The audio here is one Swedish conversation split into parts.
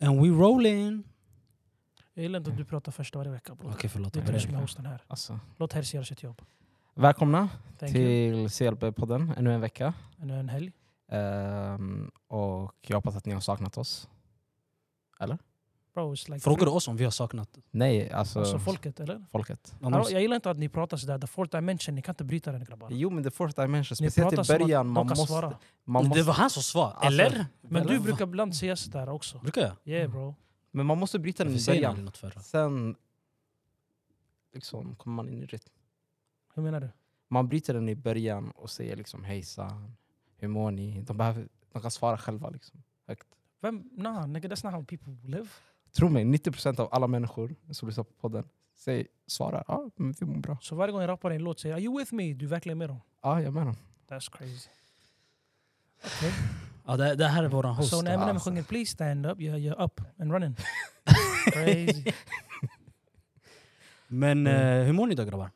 And we rolling! Jag gillar inte att du Mm. pratar första varje vecka. bror. Okej förlåt. Det är jag du ber som är om hosten här. Alltså. Låt Herse göra sitt jobb. Välkomna Thank you. till CLB-podden, ännu en vecka. Ännu en helg. Ehm, och jag hoppas att ni har saknat oss. Bro, it's det. like Frågar du oss om vi har saknat Nej, alltså, Alltså folket, eller? folket. någon? Hallå, jag gillar inte att ni pratar sådär. The fourth dimension, ni kan inte bryta den grabbar. Jo men the fourth dimension, Ni speciellt i pratar som att början. de Man kan måste, svara. man Det måste, var han som svarade, Alltså, eller? Men Eller du vad? brukar ibland säga sådär också. Brukar jag? Yeah bro. men man måste bryta den Varför i säger ni aldrig början. något förra? Sen liksom, kommer man in i rytm. Hur menar du? Man bryter den i början och säger liksom hejsan, hur mår ni? De, behöver, de kan svara själva liksom, högt. Vem? Nah, nigga, that's not how people live. Tro mig, 90% av alla människor som lyssnar på podden säger, svarar ja, ah, men vi mår bra. Så varje gång jag rappar en låt säger jag, Are you with me? Du är verkligen med dem. Ja, ah, jag menar. That's crazy. Ja, det, det här är våran host. Så när Eminem alltså. sjunger Please stand up, jag you're up and running. crazy. Men Mm. eh, hur mår ni då grabbar?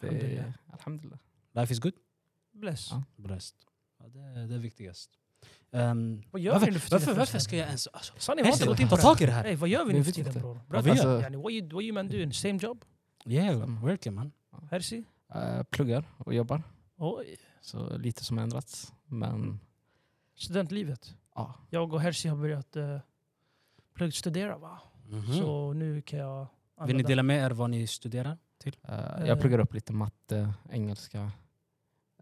Det, Alhamdulillah. alhamdulillah. Life is good? Bless. Ja. Blessed. Ja, det, det är viktigast. Ehm, Vad gör vi varför, nu för tiden? varför, varför förresten? ska jag ens... Alltså, Sanni, vi har Hej, inte gått in ta på det här. tag i det här! Hey, vad gör vi Vi nu för vet tiden inte. bror? Vad vi Berätta. gör? Yani, what, you, what you man doing? Same job? Yeah, verkligen man. Hersi? Eh, pluggar och jobbar, Oj, så lite som har ändrats. Men studentlivet. ja, Jag och Hersi har börjat uh, pluggstudera va? Mhm. Så nu kan jag Vill ni använda... dela med er vad ni studerar? eh, Eh. jag pluggar upp lite matte, engelska.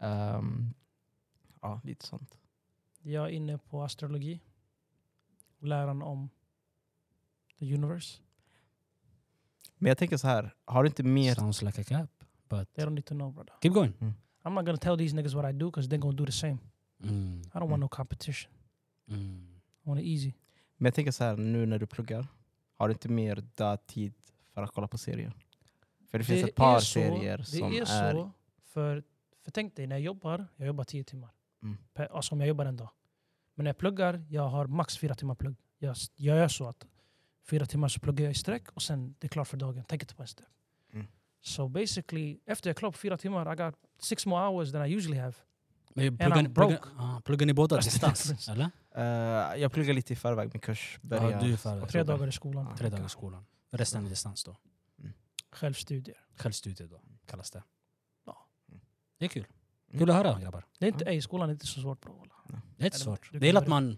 ehm, ja, lite sånt. Jag är inne på astrologi. Läran om the universe. Men jag tänker så här, har du inte mer... Sounds like a cap. But They don't need to know brother. keep going. I'm not gonna tell these niggas what I do because they're gonna do the same. Mm. I don't want no competition. Mm. I want it easy. Men jag tänker så här, nu när du pluggar, har du inte mer dödtid för att kolla på serier? För det finns ett par är så- serier det som är... är... så, för, för tänk dig när jag jobbar, jag jobbar 10 timmar. Mm. Per, alltså om jag jobbar en dag. Men när jag pluggar, jag har max fyra timmar plugg. Jag, s- jag gör så att fyra timmar så pluggar jag i sträck och sen det är klart för dagen. Tänk inte på ens det. Mm. So basically, efter jag är klar på fyra timmar, I got six more hours than I usually have. Men And pluggar, ni- I'm broke. pluggar, ah, pluggar ni båda That's the distans? difference. Eller? Eh, jag pluggar lite i förväg, min kurs börjar... Ja, du är förväg. Tre dagar i skolan, Ja. Tre dagar i skolan. Resten är distans då. självstudier. Självstudier då, kallas det. Ja. Mm. Det är kul. Kul att höra grabbar. Det är inte, Mm. ej, skolan är inte så svårt bro. Det är inte Eller, svårt. du Det är kan att man,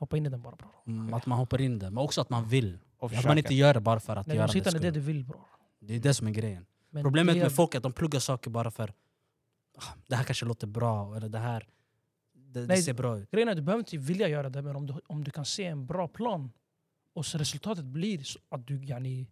Hoppa in i den bara bro. att man hoppar in där, men också att man vill. Och Att man försöker. inte gör det bara för att Nej, göra de det. sitter är det skull. du vill bro. Det är det som är grejen. Men Problemet det- med folk är att de pluggar saker bara för ah, det här kanske låter bra, eller det här det, det Nej, ser bra ut. Grejen är att du behöver inte vilja göra det, men om du, om du kan se en bra plan och så resultatet blir så att du... Yani,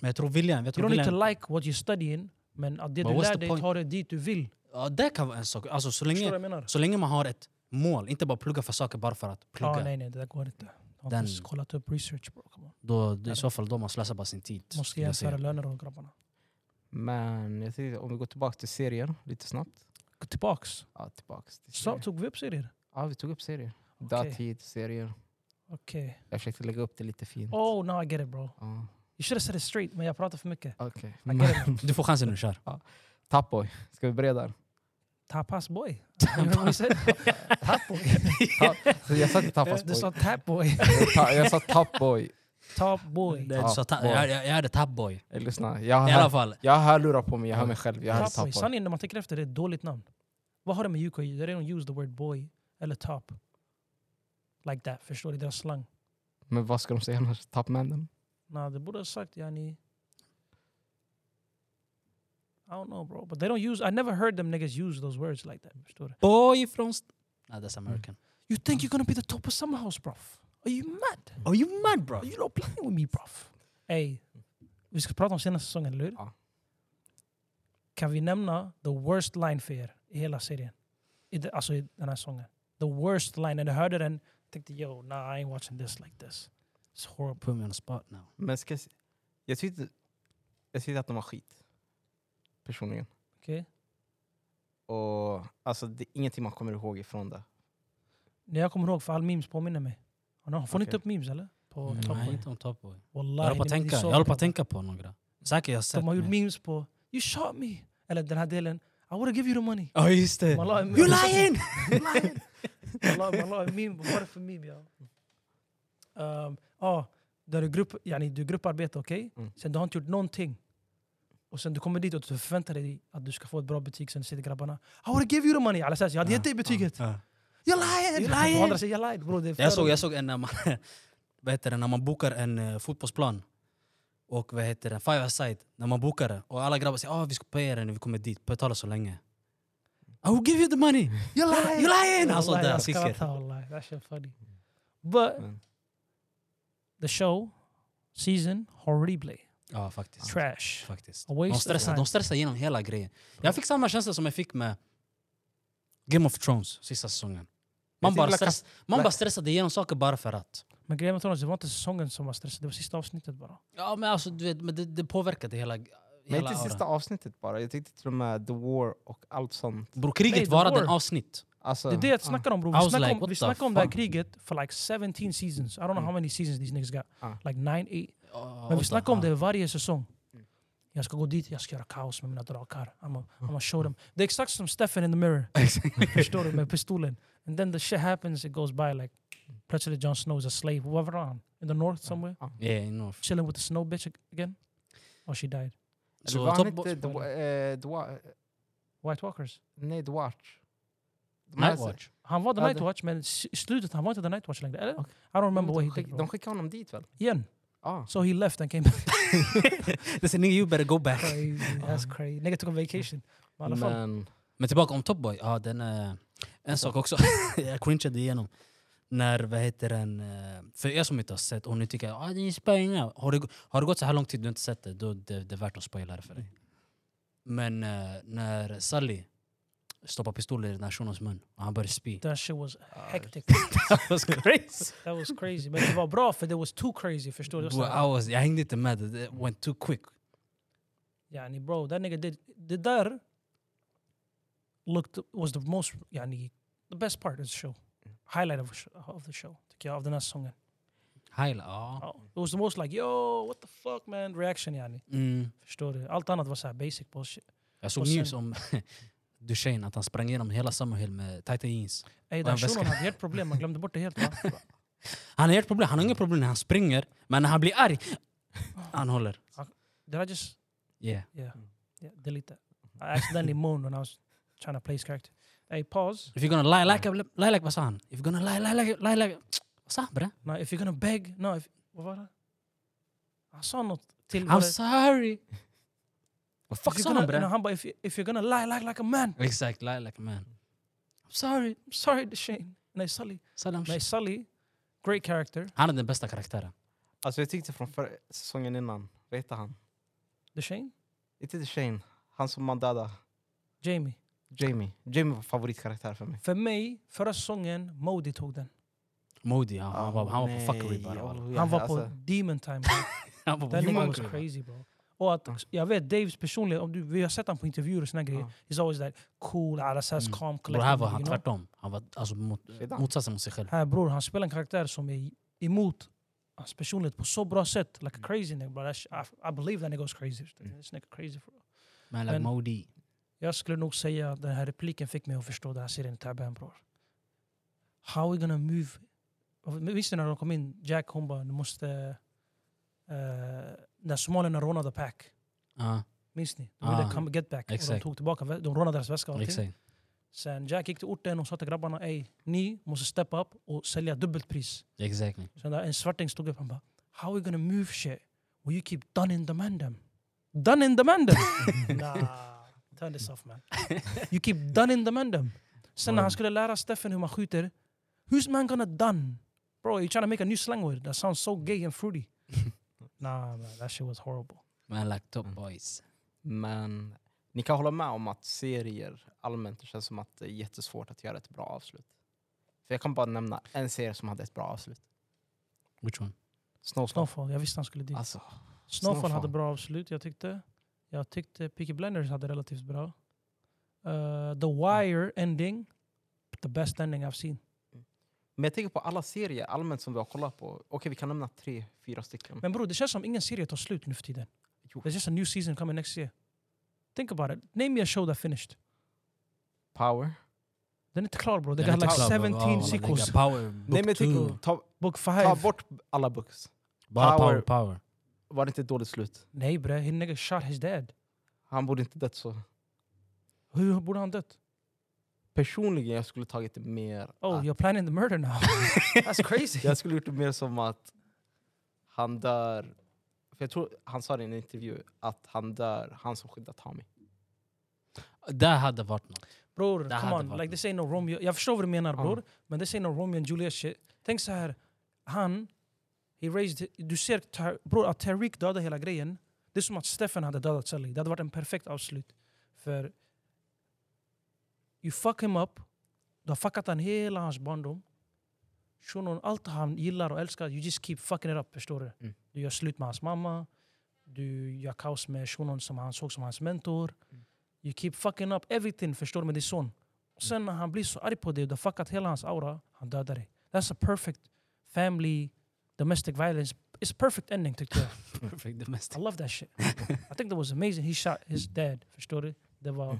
Men jag tror viljan... Jag you tror don't need viljan to like what you study in, men att det But du what's lär the dig point? tar dig dit du vill. ja, det kan vara en sak. Alltså, så, Förstår du vad länge, jag menar? så länge man har ett mål, inte bara plugga för saker bara för att plugga. Ah, nej, nej, det där går inte. Jag har Den- precis kollat upp research bro. Come on. då, I så fall då man slösar bara sin tid. Måste skulle jag säga. jämföra löner och grabbarna. Men jag tänkte, om vi går tillbaka till serier lite snabbt. Gå tillbaks. Ja, tillbaks till Så, serier. tog vi upp serier? Ja, vi tog upp serier. Okej. Dödtid, serier. Okej. Jag försökte lägga upp det lite fint. Oh, now I get it bro. Ja, You should have said it straight, men jag pratar för mycket. Okej. I get it. now. Du får chansen nu, kör. Tapboy, ska vi börja där? Tapas boy. You heard what I said? Tapboy. Så Jag sa inte tappas Du boy. sa tap boy. Jag ta- Jag sa tapboy. Top boy. Nej, du sa ta- boy. jag, jag, jag hade tabboy. Eh, Lyssna, jag I alla har, fall. jag har hörlurar på mig, jag hör mig själv. Jag hörde Top boy. tapboy. Sanningen, när man tänker efter, det är ett dåligt namn. Vad har det med UK att göra? They don't use the word boy eller top. Like that, förstår du? Deras slang. Men vad ska de säga annars? Tappmännen? Nah, de borde ha sagt yani... I don't know bro, but they don't use... I never heard them niggas use those words like that, förstår du? Boy from... St- nah, that's Mm. American. You think you're gonna be the top of summer house bruv? Are you mad? Are you mad bro? Are you not playing with me bruv? Ey, vi ska prata om senaste säsongen, eller hur? Ja. Kan vi nämna the worst line för er i hela serien? I de, alltså i den här säsongen. The worst line. När jag hörde den tänkte yo, nah I ain't watching this like this. It's horrible. Put me on the spot now. Men ska jag, se- jag, tyckte, jag tyckte att de var skit. Personligen. Okej? Och alltså, det är ingenting man kommer ihåg ifrån det. När jag kommer ihåg, för all memes påminner mig. Har ni- Får ni inte Okej. upp memes eller? På Mm, Top nej, Boy? inte om Top Boy. Wallahi, Jag håller på att det är tänka, så jag håller på bra. att tänka på några. Säkert jag har sett. De har gjort men- memes på You shot me! Eller den här delen I would give you the money. Ja just det! Man la en- You Eh. lying! Man la- man la en meme, bara för meme ja. ehm, ah, där du, grupp, yani, du grupparbete, okej? Mm. Sen du har inte gjort någonting. Och sen du kommer dit och du förväntar dig att du ska få ett bra betyg. Sen sitter grabbarna I would give you the money! Alla säger jag hade gett dig betyget. You're lying! You're lying. Och andra säger you're lying bro. Det är Jag för- såg, jag såg en när man, vad heter det, när man bokar en eh, fotbollsplan och vad heter det, five aside, när man bokar det och alla grabbar säger ah vi ska paya dig när vi kommer dit, betala så länge. I will give you the money! You're You lying! Alltså, Han såg Wallahi, där, jag sicker. skrattar, wallahi. That shit funny. But Mm. Men, the show, season, horrible. Ja faktiskt. Trash. faktiskt. A waste De of stressar, time. de stressar igenom hela grejen. Jag fick samma känsla som jag fick med Game of Thrones sista säsongen. Man tycker bara, Black- stress, man bara Black- stressade igenom saker bara för att. Men grejen med Thrones, det var inte säsongen som var stressad, det var sista avsnittet bara. Ja men alltså du vet, men det, det påverkade hela... men hela inte auran. sista avsnittet bara. Jag tänkte till och med The War och allt sånt. Bror Nej, kriget the var war. den avsnitt. Alltså, Det är det jag ja. snackar om bro. Ah. I Vi was snackar like, om, what vi the snackar om det här fuck? kriget för like 17 seasons. I don't know Mm. how many seasons these niggas got. Ah. Ja. Like 9, 8. Ja, Men vi och snackar om det. det varje säsong. Mm. Jag ska gå dit, jag ska göra kaos med mina drakar. I'm a, Ah. I'm a show them. Det är exakt som Stefan in the mirror. Förstår du? Med pistolen. And then the shit happens, it goes by like... Plötsligt Jon Snow is a slave. Where var han? In the north Ah. somewhere? Ja. Yeah, enough. Chilling with the snow bitch ag- again? Oh she died. Eller Så var han top, inte The, Wa- eh, the Wa- White walkers. nej, the Watch? De här- Night Watch. Han var the Ah, Ja, night det- watch men s- i slutet han var inte the night watch längre. Eller? I don't remember what de, he skick, did. de bro. skickade honom dit väl? Igen. Ja. So he left and came back. Det säger you better go back. crazy. Uh-huh. That's crazy. Nigga took a vacation. Men i alla fall. Men, Men tillbaka om Top Boy. Ja, den, eh, en sak också. jag cringeade igenom. När, vad heter den, eh, för er som inte har sett och ni tycker att ah, det är spoilingar. Har, det gå- har det gått så här lång tid du inte sett det, då är det, det är värt att spoila det för dig. Men eh, när Sally stoppar pistolen i den här shunons mun och han börjar spy. That shit was hectic. That was crazy! That was crazy. Men det var bra för det was too crazy. Förstår du? Det var så här, Bro, I was, jag hängde inte med, det It went too quick. Yani bro, that nigga did... Det där looked, was the most... Yani, the best part of the show. Highlight of, the sh- of the show. Tycker jag, av den här säsongen. Highlight, ja. Ja. It was the most like yo, what the fuck man reaction yani. Mm. Förstår du? Allt annat var så här basic bullshit. Jag såg Och sen- news om Duchene, att han sprang igenom hela Summerhill med tajta jeans. Ey, Och en den väska. shunon hade helt problem, man glömde bort det helt. Va? Han har inget problem, han har inga problem när han springer, men när han blir arg, han håller. Did I just Yeah. yeah, yeah delete that? I accidentally moaned when I was trying to play his character. Ey, pause. If you're gonna lie like a lie like, vad sa han? If you're gonna lie, lie like, lie like... Vad sa han bre? No, if you're gonna beg, no, if, vad var det? Han sa något till... I'm sorry! Vad fuck sa han han bre? Han bara, if, you- if you're gonna lie like, like a man. Exakt, lie like a man. I'm sorry! I'm sorry Deshane. Nej, Sully. Salam. Nej, Sully. Great character. Han är den bästa karaktären. alltså jag tyckte från förra säsongen innan, vad heter han? Deshane? Inte det Shane, han som man dödade. Jamie. Jamie. Jamie var favoritkaraktär för mig. För mig, förra säsongen, Modi tog den. Moody, ja, han, var, han var nej, på fuckery bara. wallah. oh, Han var på alltså, demon time. bro. Han var på Den nigga was fuckery. crazy bro. Oh, Och att, Ja. Oh. jag vet Daves personlighet, om du, vi har sett honom på intervjuer och såna grejer. Ja. He's always like cool, alla såhär Mm. calm, Bror här var han you know? tvärtom. Han var alltså mot, Redan. motsatsen mot sig själv. Här bror, han spelar en karaktär som är emot hans personlighet på så bra sätt. Like a Mm. crazy nigga bro. That's- I, I believe that nigga was crazy. Mm. This nigga crazy bro. Men like Men- Moody. Jag skulle nog säga att den här repliken fick mig att förstå den här serien Taban bror. How we gonna move? Minns ni när de kom in? Jack hon bara, du måste... eh, när somalierna rånade Pack. Ja, Minns ni? De Ah, ville come get back. Och de exakt. tog tillbaka, vä- de rånade deras väska och allting. exakt. Sen Jack gick till orten och sa till grabbarna, ey, ni måste steppa upp och sälja dubbelt pris. Exactly. Sen där en svarting stod upp och bara, how are we gonna move shit? Will you keep done in demand them? Done in demand them? nah, turn this off man. You keep done in demand them. Sen när han skulle lära Steffen hur man skjuter, who's man gonna done? Bro, you trying to make a new slang word that sounds so gay and fruity. nah man, that shit was horrible. Men like top Mm. boys. Men ni kan hålla med om att serier allmänt, det känns som att det är jättesvårt att göra ett bra avslut. För jag kan bara nämna en serie som hade ett bra avslut. Which one? Snowfall. Snowfall, jag visste han skulle dit. Alltså, Snowfall, Ah, Snowfall. hade bra avslut, jag tyckte. Jag tyckte Peaky Blinders hade relativt bra. Eh, The Wire ending, the best ending I've seen. men jag tänker på alla serier allmänt som vi har kollat på. Okej, vi kan nämna tre, fyra stycken. Men er bror, det känns som ingen serie tar slut nu Er för tiden. Jo. There's just a new season coming next year. Think about it. Name me a show that finished. Power. Den är inte klar bror. Det Den är got like inte klar, bro. 17 Ja, man, they sequels. got Power, book Nej men two. Tico, ta, Book ta 5. bort alla books. Bara power, Power. power. Var det inte ett dåligt slut? Nej bre, he nigga shot his dad. Han borde inte dött så. Hur borde han dött? Personligen jag skulle tagit det mer... Oh, att, you're planning the murder now. That's crazy. jag skulle gjort det mer som att han dör... För jag tror han sa det i en intervju, att han dör, han som skyddar Tommy. Det hade varit något. Bror, Det come hade on. varit Like, this ain't no Romeo. Jag förstår vad du menar Ja. bror, men this ain't no Romeo and Juliet shit. Tänk så här, han, he raised, du ser Tar- bror, att Tariq dödade hela grejen. Det är som att Stefan hade dödat Sally. Det hade varit en perfekt avslut. För you fuck him up, du har fuckat han hela hans barndom. Shunon, allt han gillar och älskar, you just keep fucking it up, förstår du? Mm. Du gör slut med hans mamma, du gör kaos med shunon som han såg som hans mentor. Mm. You keep fucking up everything, förstår du, med din son. Och sen när han blir så arg på dig och du har fuckat hela hans aura, han dödar dig. That's a perfect family, domestic violence. It's a perfect ending tyckte jag. Perfect domestic. I love that shit. I think that was amazing. He shot his dad, förstår du? Det var...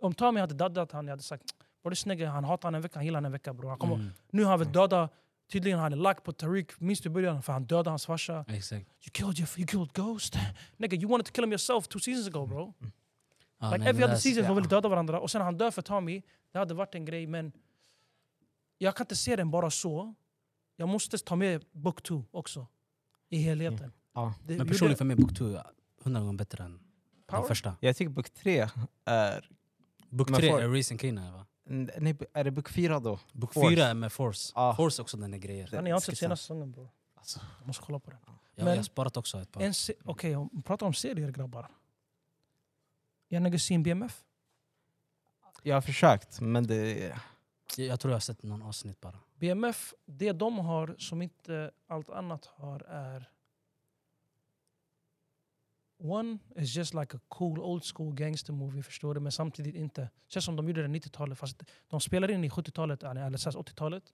Om Tommy hade dödat han, jag hade sagt bror det snygga, han hatar han en vecka, han gillar han en vecka bror. Han kommer, Mm, Nu har han väl dödat, tydligen han är lack på Tariq, minns du i början? För han dödade hans farsa. exakt. You killed, your, you killed Ghost. Nigga, you wanted to kill him yourself two seasons ago bro. Ja, Like nej, every det other där- season, de ja. ville döda varandra. Och sen han dör för Tommy, det hade varit en grej. Men jag kan inte se den bara så. Jag måste ta med Book 2 också. I helheten. Mm. Ja. Det Men gjorde personligen för mig, Book 2 är 100 gånger bättre än Power? den första. Jag tycker bok tre är... Book Men 3 for- är Reason Kina va? Nej, är det bok fyra då? Book Force. 4 är med Force. Ja. Force också den är grejer. Han Ah. har inte sett skissar. senaste säsongen bror. Alltså. Jag måste kolla på den. Jag, Men- jag har sparat också ett par. En se- Okej, om- prata om serier grabbar. Jag har seen BMF. Jag har försökt, men det... Jag, jag tror jag har sett någon avsnitt bara. BMF, det de har som inte allt annat har är... One is just like a cool old school gangster movie, förstår du? Men samtidigt inte. Känns som de gjorde det 90-talet, fast de spelar in i 70-talet, eller eller så här 80-talet.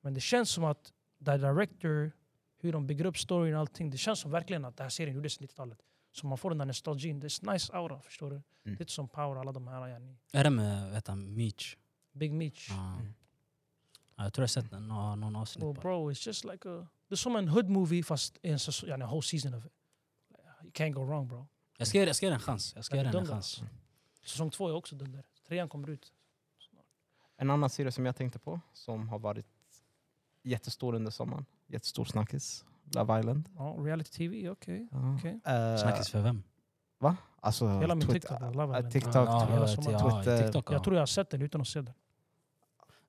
Men det känns som att the director, hur de bygger upp storyn och allting, det känns som verkligen att den här serien gjordes 90-talet. Så man får den där nostalgin, det är nice aura, förstår du? Det är inte som Power, alla de här, yani. Är det med vet han, Meech? Big Meech. Ja. Ja, jag tror jag har sett nå- någon Well, avsnitt bara. bro, it's just like a... Det är som en hood movie fast en, säsong, yani, en whole season of it. You can't go wrong bro. Jag ska ge jag ska ge den en chans. Jag ska Den ge är den en dum, chans. Säsong två är också dunder. Trean kommer ut. En annan serie som jag tänkte på, som har varit jättestor under sommaren, jättestor snackis, Love Island. Ja, reality TV, okej. Ja. Okej. Eh, Snackis för vem? Alltså, Hela min Twitter- TikTok, jag love eh, Island. TikTok, Ja, hela ja, sommaren. ja, Twitter. TikTok, ja. Jag tror Mm. jag har sett den utan att se den.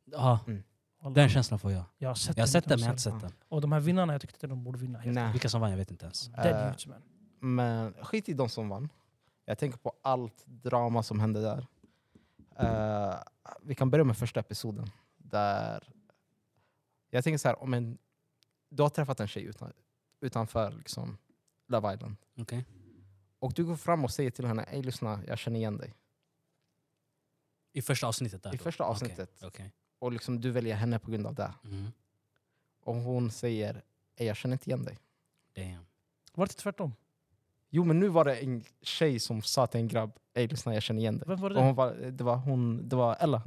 Ja, Wallah. den känslan får jag. Jag har sett Jag har sett utan den att men jag har inte se sett den. Och de här vinnarna, jag tyckte inte de borde vinna. Helt. Nej. Vilka som vann jag vet inte ens. Dead Eh, youths man. Men skit i de som vann. Jag tänker på allt drama som hände där. Eh, vi kan börja med första episoden. Där jag tänker så här, om en, du har träffat en tjej utan, utanför liksom, Love Island. Okej. Och du går fram och säger till henne, ey lyssna, jag känner igen dig. I första avsnittet där I då? första Okej, avsnittet. okej. Och liksom, du väljer henne på grund av det. Mm. Och hon säger, ey jag känner inte igen dig. Damn. Var det tvärtom? Jo men nu var det en tjej som sa till en grabb, ey lyssna jag känner igen dig. Vem var det? Och hon var, det var hon, det var Ella.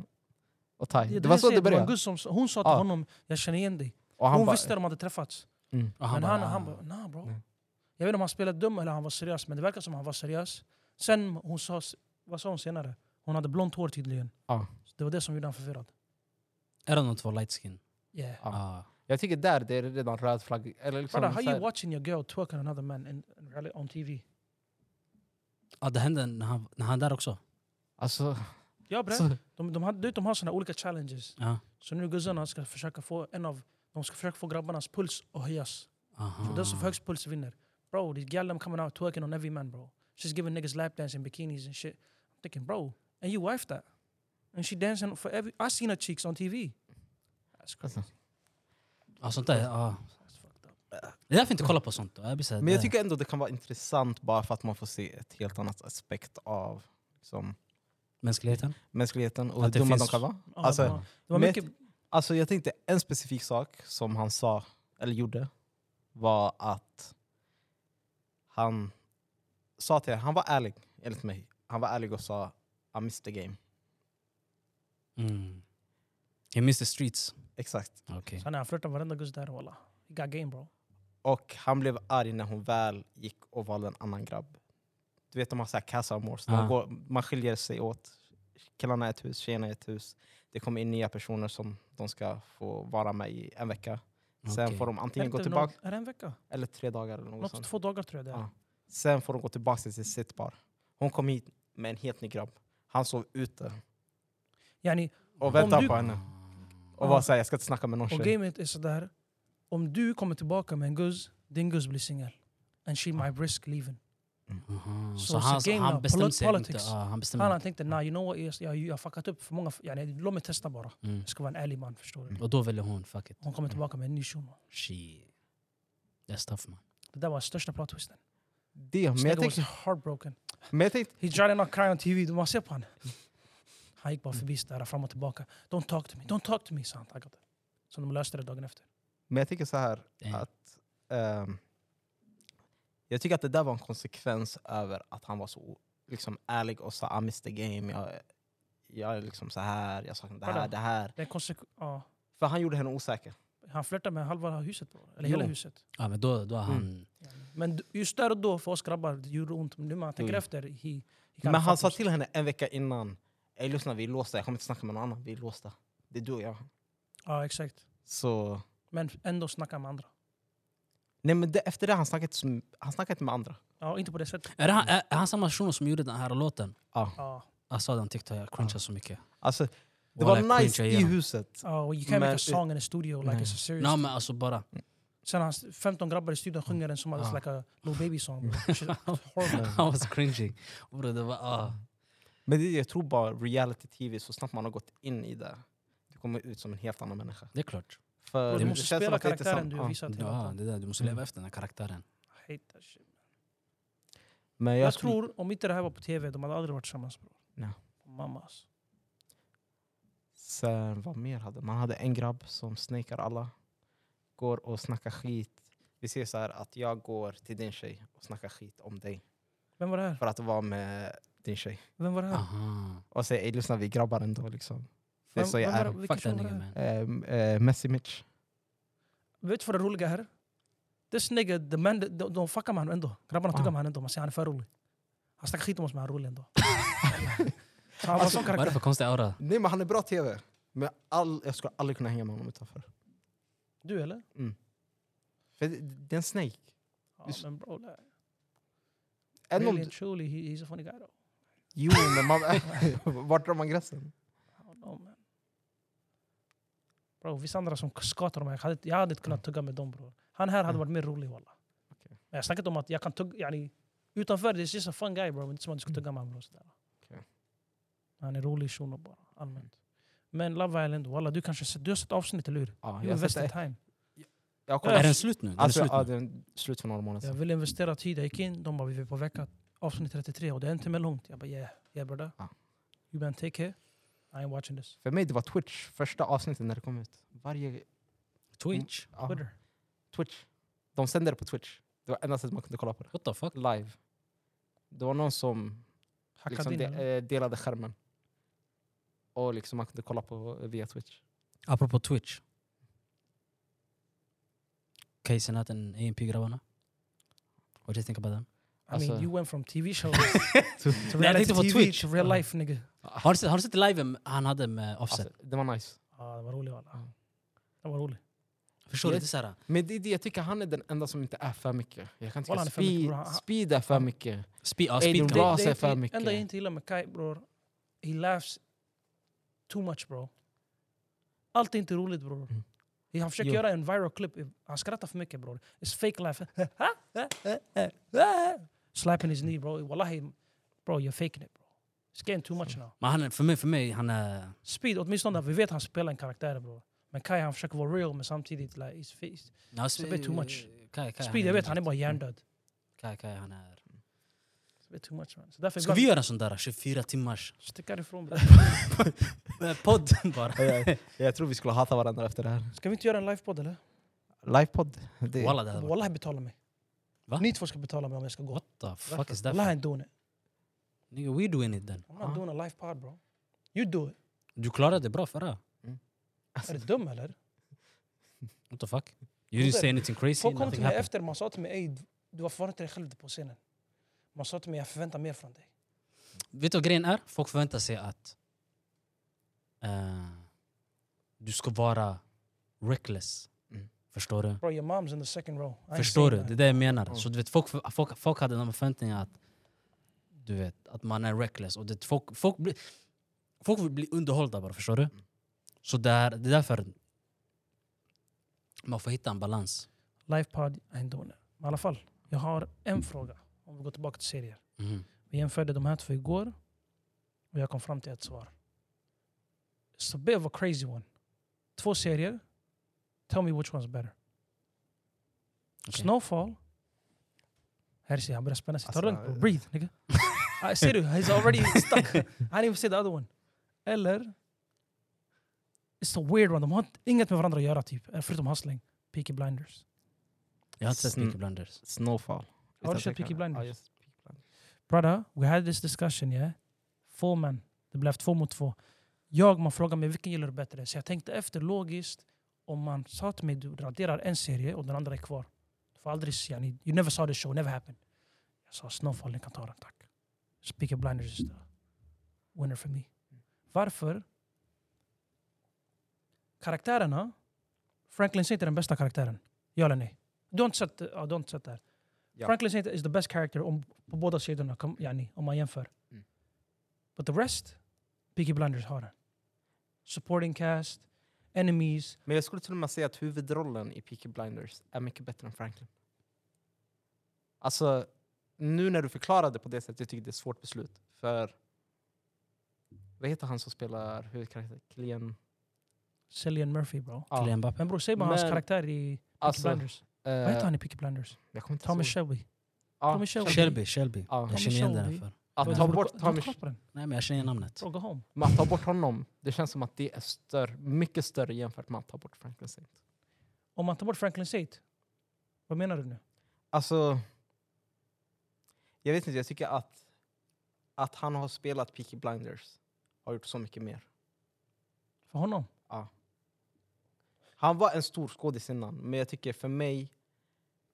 Och Tai. Ja, det, var jag så säger, det var en började. gud som, hon sa till Ja. honom, jag känner igen dig. Och han Hon bara, mm. visste de hade träffats. Och men han, bara, han ah. bara, nah bro. Nej. Jag vet inte om han spelade dum eller han var seriös, men det verkar som han var seriös. Sen hon sa, vad sa hon senare? Hon hade blont hår tydligen. Ja. Så det var det som gjorde han förvirrad. Är det de två light skin? Yeah. Ja. Ah. jag tycker där det är redan röd flagg. Eller liksom, Brother, how så you här, watching your girl twerk on another man in, in, reali- on TV? Ja, Ah, det hände när han, när han där också. alltså, Ja bre, så, de, de, hade- de har såna olika challenges. Ja. Så nu guzzarna ska försöka få en av, de ska försöka få grabbarnas puls att höjas. Aha. Så den Ah. som får högst puls vinner. Bro, these gal them coming out twerking on every man bro. She's giving niggas lap dance in bikinis and shit. I'm thinking bro, and you wife that? And she dancing for every, I seen her cheeks on TV. That's crazy. alltså. Ja, Ah, sånt där. Ja. That's fucked up. Det är därför jag inte kollar på sånt. Jag blir så här, Men jag det- tycker ändå det kan vara intressant bara för att man får se ett helt annat aspekt av liksom, Mänskligheten? mänskligheten och hur Att det dumma de finns- kan vara. Ja, Alltså, det var, det var men- Oh, mycket, Alltså jag tänkte en specifik sak som han sa, eller gjorde, var att han sa till han var ärlig, enligt mig. Han var ärlig och sa I missed the game. Mm. He missed the streets. Exakt. Okej. Så han flörtar varenda guzz där walla. He got game bro. Och han blev arg när hon väl gick och valde en annan grabb. Du vet de har så här kassamors, Ah. man skiljer sig åt. Killarna är ett hus, tjejerna är ett hus. Det kommer in nya personer som de ska få vara med i en vecka. Sen Okej. får de antingen Är gå det tillbaka, någon- Är det en vecka? eller tre dagar eller något Något sånt. två dagar tror jag det är. Ja. Sen får de gå tillbaka till sitt par. Hon kom hit med en helt ny grabb. Han sov ute Yani, Om och väntade du- på henne. Ah, Och Ja. var såhär, jag ska inte snacka med någon och tjej. gamet är sådär. Om du kommer tillbaka med en guzz, din guzz blir singel. And she might risk leaving. Aha, Så- Så, så han, game han now, bestämde polit- sig inte. politics. Ja, han Mm. bestämde Han tänkte, nah you know what, yes, jag, jag har fuckat upp för många. Yani, låt mig testa bara. Mm. Jag ska vara en ärlig man, förstår du? Och då väljer hon, fuck it. Hon kommer tillbaka med en ny shuno. She... That's tough man. Det där var den största plot twisten. Det, men, jag Stedo was tänkte, heartbroken. men jag tänkte, He tried not cry on TV, du man ser på han. Han gick bara förbi där fram och tillbaka. Don't talk to me, don't talk to me, sa han taggad. Så de löste det dagen efter. men jag tänker så här. Damn. Att- Ehm, jag tycker att det där var en konsekvens över att han var så liksom, ärlig och sa I miss the game, jag, jag är liksom så här, jag saknar det här, Vadå? det här. Det är konsek- ja, För han gjorde henne osäker. han flörtade med halva huset, bro. eller Jo. hela huset. Ja, men då, då är han... Men d- just där och då, för oss grabbar, det gjorde ont. Men nu när man tänker Mm. efter, he, he Men kinda han sa fucked till henne en vecka innan, Ey lyssna vi är låsta, jag kommer inte snacka med någon annan, vi är låsta. Det är du och jag. himself. Ja, exakt. Så, Men ändå snacka med andra. nej men det, efter det han snackade inte, som- han snackade inte med andra. Ja, inte på det sättet. Är, det han, är, är han samma person som gjorde den här låten? Ja. Ja, Alltså den tyckte jag cringeade så mycket. Alltså, det Walla, var jag nice cringear i igenom. huset. Ja, och you can't make Men- a song in a studio like Nej. it's a serious Nej men alltså bara... Sen har han 15 grabbar i studion sjunger den som att Ah. it's Ja. like a Lil Baby song. bro. Shit, horrible. Han was cringing. Bro, det var... ah. Men det, jag tror bara reality-tv, så snabbt man har gått in i det, du kommer ut som en helt annan människa. Det är klart. För Bro, du det måste känns som spela att det inte är karaktären sant. du Ja. har visat hela Ja, tiden. det där, du måste Mm. leva efter den här karaktären. I hate that shit. Men jag, Jag, tror... tror, om inte det här var på tv, de hade aldrig varit tillsammans. Bro. Nej. Mamma alltså. Sen, vad mer hade man? hade en grabb som snakar alla. Går och snackar skit. Vi ser så här att jag går till din tjej och snackar skit om dig. Vem var det här? För att vara med din tej. Vem var det här? Aha. Och säger ej lyssna vi är grabbar ändå liksom. Det är Vem, så jag vem var är. det- vilken Fuck tjej den var det nigga här? man. Ehm, eh, Messi Mitch. Vet du vad det roliga här? This nigga, the man, de, de, de fuckar med honom ändå. Grabbarna tuggar Ah. med honom ändå. Man säger han är för rolig. Han snackar skit om oss men han är rolig ändå. Så han var en sån Vad är det karaktär. för konstig aura? Nej men han är bra tv. Men all, jag skulle aldrig kunna hänga med honom utanför. Du eller? För det, det är en snake. Ja, Visst. men bro, like, Även really om, and truly, he, he's a funny guy though. jo men man, vart drar man gränsen? I don't know, man. Bro, vissa andra som skatar mig. Jag hade, jag hade inte kunnat tugga med dem bro. Han här hade Mm. varit mer rolig walla. Okej. Men jag snackar inte om att jag kan tugga, yani, utanför det är just a fun guy bro. Men det är som att du ska tugga med honom. och sådär. Mm. Okej. Mm. Han är rolig shuno bara, allmänt. Men Love Island, walla du kanske sett, du har sett avsnittet eller hur? You Ja, jag, har sett invested det. time. jag Är kollar. den slut nu? Den är Alltså, slut ja, nu. det är slut för några månader Jag sedan. ville investera tid, jag gick in, de bara vi är på vecka avsnitt 33 och det är en timme långt. Jag bara yeah, yeah brother. Ja. You been take care? I ain't watching this. För mig det var Twitch, första avsnittet när det kom ut. Varje... Twitch? ja, Twitter. Twitch. De sände det på Twitch. Det var enda sättet man kunde kolla på det. What the fuck? Live. Det var någon som Hackade liksom in de, eller? eh, delade skärmen. Och liksom man kunde kolla på via Twitch. Apropå Twitch. Casen att en E AMP-grabbarna. What do you think about them? I mean alltså- you went from TV show to Nej, jag reality tänkte på TV Twitch. to real Ja. life nigga. Ah. Har du sett, har du sett liven han hade med Offset? Alltså, det var nice. Ja, det var roligt walla. Ja. Det var roligt. Förstår du? Yes. Det är såhär... Men det är det, jag tycker han är den enda som inte är för mycket. Jag kan tycka Wallah, han är för mycket, bro. Han- speed, speed är för mycket. Speed, ja, Aiden speed Ross. kan. sig inte- för mycket. enda jag inte gillar med Kai bror, he laughs too much bro. Allt är inte roligt bror. Mm. Han försöker Jo. göra en viral clip, han skrattar för mycket bror. It's fake laugh. Slapping his knee bro. Wallahi, bro you're faking it bro. It's getting too much now. Men han, är- för, mig, för mig, han är... Speed, åtminstone vi vet han spelar en karaktär bror. Men Kai han försöker vara real men samtidigt like, he's face. No, a bit too much. Kai, Kai, Speed jag vet han är bara Mm. hjärndöd. Kai, Kai, han är... It's a bit too much man. Så därför Ska vi göra en sån där 24 timmars Stick härifrån bror. eh, podd bara? إيه. jag, jag tror vi skulle hata varandra efter det här. Ska vi inte göra en livepodd eller? Livepodd. Det, Walla det här var... Wallahi betala mig. Va? Ni två ska betala mig om jag ska gå. What the fuck is that? Wallahi I ain't doing it. Nigga, we doing it then. I'm not Ah. doing a live pod bro. You do it. Du klarade det bra förra. Mm. Är du dum eller? What the fuck? You didn't say anything crazy, Folk kom nothing till mig happened. efter, man sa till mig "Ey, du var fan inte dig själv på scenen. Man sa till mig jag förväntar mer från dig. Vet du vad grejen är? Folk förväntar sig att eh, du ska vara reckless. Mm. Förstår du? Bro, your mom's in the second row. I ain't Förstår du? saying Det är nothing. det jag menar. Ja. Så du vet, folk, folk, folk hade de förväntningarna att, du vet, att man är reckless. Och det, folk, folk, blir, folk vill bli underhållda bara, förstår du? Så där, det är därför man får hitta en balans. Lifepod, I ain't doing it. Men i alla fall, jag har en fråga. Om vi går tillbaka till serier. Mhm. Vi jämförde de här två igår och jag kom fram till ett svar. It's a bit of a crazy one. Två serier. Tell me which one's better. Okej. Snowfall. Här ser jag, han börjar spänna sig. Ta det Alltså, lugnt bro. breathe nigga. Ah, Ser du? He's already stuck. I didn't even see the other one. Eller... It's a weird one. De har inget med varandra att göra typ. Förutom hustling. Peaky Blinders. Jag har inte sett Mm. Peaky Blinders. Snowfall. Har du Utan sett Peaky tvekan. Blinders? Ja, just Peaky Blinders. Brother, we had this discussion yeah. Två män. Det blev två mot två. Jag, man frågar mig vilken gillar du bättre? Så jag tänkte efter logiskt. Om man sa till mig du raderar en serie och den andra är kvar. Du får aldrig se, yani, you never saw the show, never happened. Jag sa Snowfall, ni kan ta den tack. Speaker Blinders is the winner for me. Varför? Karaktärerna. Franklin Saint är den bästa karaktären. Ja eller nej? Du har inte sett, ja, du har inte sett det här. Ja. Franklin Saint is the best character om, på båda sidorna, kom, yani, om man jämför. Mm. But the rest, Peaky Blinders har den. Supporting cast, enemies. Men jag skulle till och med säga att huvudrollen i Peaky Blinders är mycket bättre än Franklin. Alltså, nu när du förklarade på det sättet, jag tycker det är ett svårt beslut. För... Vad heter han som spelar huvudkaraktären? Killian? Cillian Murphy bro. Ja, Kylian Mbappé. Men bror, säg bara hans Men- karaktär i Peaky alltså, Blinders. eh, Vad heter han i Peaky Blinders? Jag kommer inte Thomas ihåg. Shelby. Ja, Thomas Shelby. Shelby, Shelby. Ja. Jag Thomas känner igen den Shelby. för. Att Bro, ta du- bort du- du- Thomas kolla på den. Nej men jag känner igen namnet. Bro, go home. Men att ta bort honom, det känns som att det är större, mycket större jämfört med att ta bort Franklin Saint. Om man tar bort Franklin Saint, vad menar du nu? Alltså, jag vet inte, jag tycker att, att han har spelat Peaky Blinders har gjort så mycket mer. För honom? Han var en stor skådis innan, men jag tycker för mig,